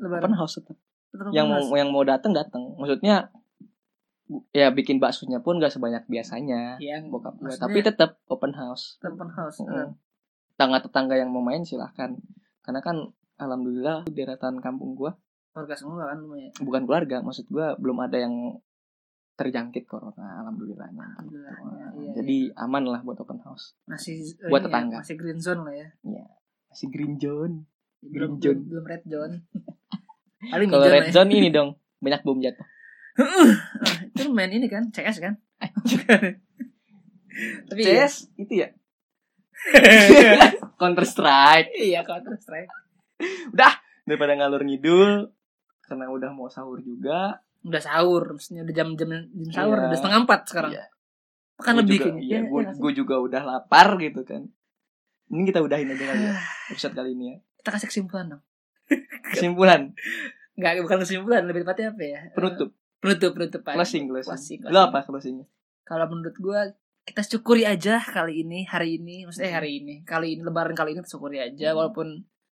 B: lebaran
A: open house tetap
B: Tetap open
A: yang
B: house.
A: mau yang mau datang datang maksudnya bu- ya bikin baksonya pun gak sebanyak biasanya
B: yang
A: bokap gue
B: Maksudnya- eh.
A: tapi tetap open house
B: tetap open house
A: Mm.
B: Nah,
A: tetangga-tetangga yang mau main silahkan karena kan alhamdulillah deretan kampung gua
B: keluarga semua kan rumah ya
A: bukan keluarga maksud gua belum ada yang terjangkit corona alhamdulillahnya
B: Alhamdulillah. Ya, iya,
A: jadi aman lah buat open house
B: iya. masih eh,
A: buat
B: ini ya,
A: tetangga.
B: masih green zone lah ya
A: masih green zone
B: belum
A: Green zone.
B: belum- belum red zone paling
A: kalau
B: hijau lah
A: red
B: ya.
A: zone ini dong banyak bom jatuh
B: Ah, itu main ini kan CS kan tapi ya.
A: CS itu ya counter strike
B: iya counter strike
A: daripada ngalur ngidul karena udah mau sahur juga
B: udah sahur maksudnya udah jam jam jam sahur
A: Iya.
B: udah setengah empat sekarang
A: Iya,
B: kan
A: gua
B: lebih
A: juga,
B: kayaknya
A: iya,
B: Iya,
A: gua,
B: iya nggak sih?
A: gua juga udah lapar gitu kan ini kita udahin aja kali ya episode kali ini ya
B: Ah, kita kasih kesimpulan dong
A: kesimpulan
B: nggak bukan kesimpulan lebih tepatnya apa ya
A: penutup
B: Eh, penutup penutup aja.
A: closing closing,
B: closing,
A: lo
B: closing.
A: apa closingnya
B: kalau menurut gue kita syukuri aja kali ini hari ini maksudnya hari ini kali ini lebaran kali ini kita syukuri aja
A: Hmm.
B: walaupun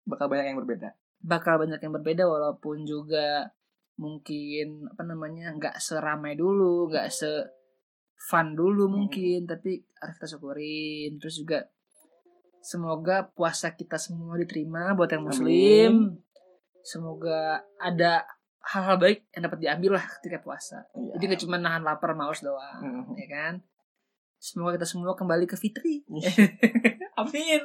A: bakal banyak yang berbeda
B: bakal banyak yang berbeda walaupun juga mungkin apa namanya nggak seramai dulu nggak se fun dulu
A: Hmm.
B: mungkin tapi harus kita syukurin terus juga semoga puasa kita semua diterima buat yang muslim semoga ada hal-hal baik yang dapat diambil lah ketika puasa
A: Iya.
B: jadi gak cuma nahan lapar maus doang
A: Mhm.
B: ya kan semoga kita semua kembali ke fitri amin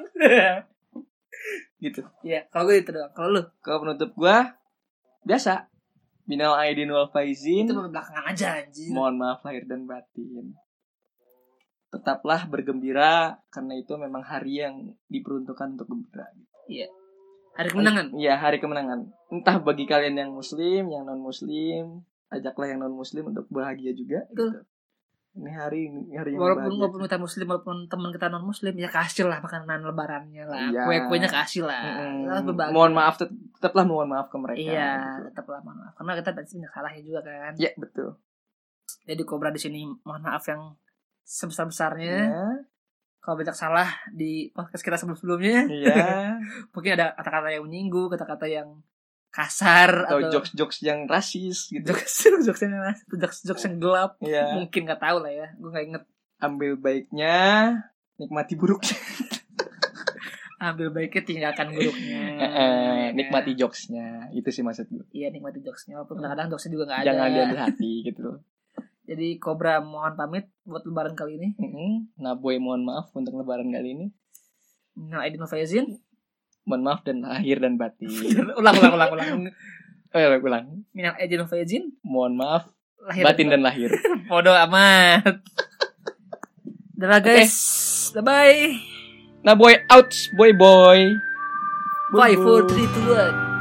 A: gitu
B: ya kalau gue itu doang kalau lu
A: kalau penutup gua biasa binal aidin wal faizin
B: itu belakangan aja anjir
A: mohon maaf lahir dan batin tetaplah bergembira karena itu memang hari yang diperuntukkan untuk gembira
B: hari kemenangan
A: Iya hari kemenangan. Entah bagi kalian yang muslim, yang non muslim, ajaklah yang non muslim untuk bahagia juga. gitu.
B: Betul.
A: Ini hari ini hari yang
B: walaupun
A: bahagia.
B: walaupun kita muslim walaupun teman kita non muslim ya kasih lah makanan lebarannya lah
A: Iya.
B: kue kuenya kasih lah
A: Mm-mm.
B: Lah, berbagi.
A: Mohon maaf tet- tetaplah mohon maaf ke mereka.
B: iya
A: gitu.
B: tetap lah mohon maaf karena kita pasti banyak salahnya juga kan
A: Iya betul.
B: jadi kobra di sini mohon maaf yang sebesar besarnya
A: Iya.
B: kalau banyak salah di podcast kita sebelum sebelumnya
A: Iya.
B: mungkin ada kata kata yang menyinggung kata kata yang kasar
A: Atau
B: atau,
A: jokes-jokes yang rasis gitu.
B: jokes jokes yang keras, jokes jokes yang gelap
A: Iya.
B: mungkin nggak tahu lah ya gue nggak inget
A: Ambil baiknya, nikmati buruknya.
B: ambil baiknya tinggalkan buruknya
A: Eh, eh,
B: Ya kan?
A: nikmati jokesnya. Itu sih maksud gue.
B: iya nikmati jokesnya walaupun kadang-kadang jokesnya juga nggak ada
A: Jangan diambil hati gitu loh.
B: jadi Cobra mohon pamit buat lebaran kali ini
A: Mm-mm. Nah, boy mohon maaf untuk lebaran kali ini.
B: Minal aidin wal faizin
A: Mohon maaf dan lahir dan batin.
B: ulang ulang ulang ulang
A: Eh, ulang.
B: minal aidin wal faizin
A: mohon maaf
B: lahir
A: batin dan lahir.
B: bodo amat udah lah guys bye bye
A: Nah boy out boy boy.
B: five four three two one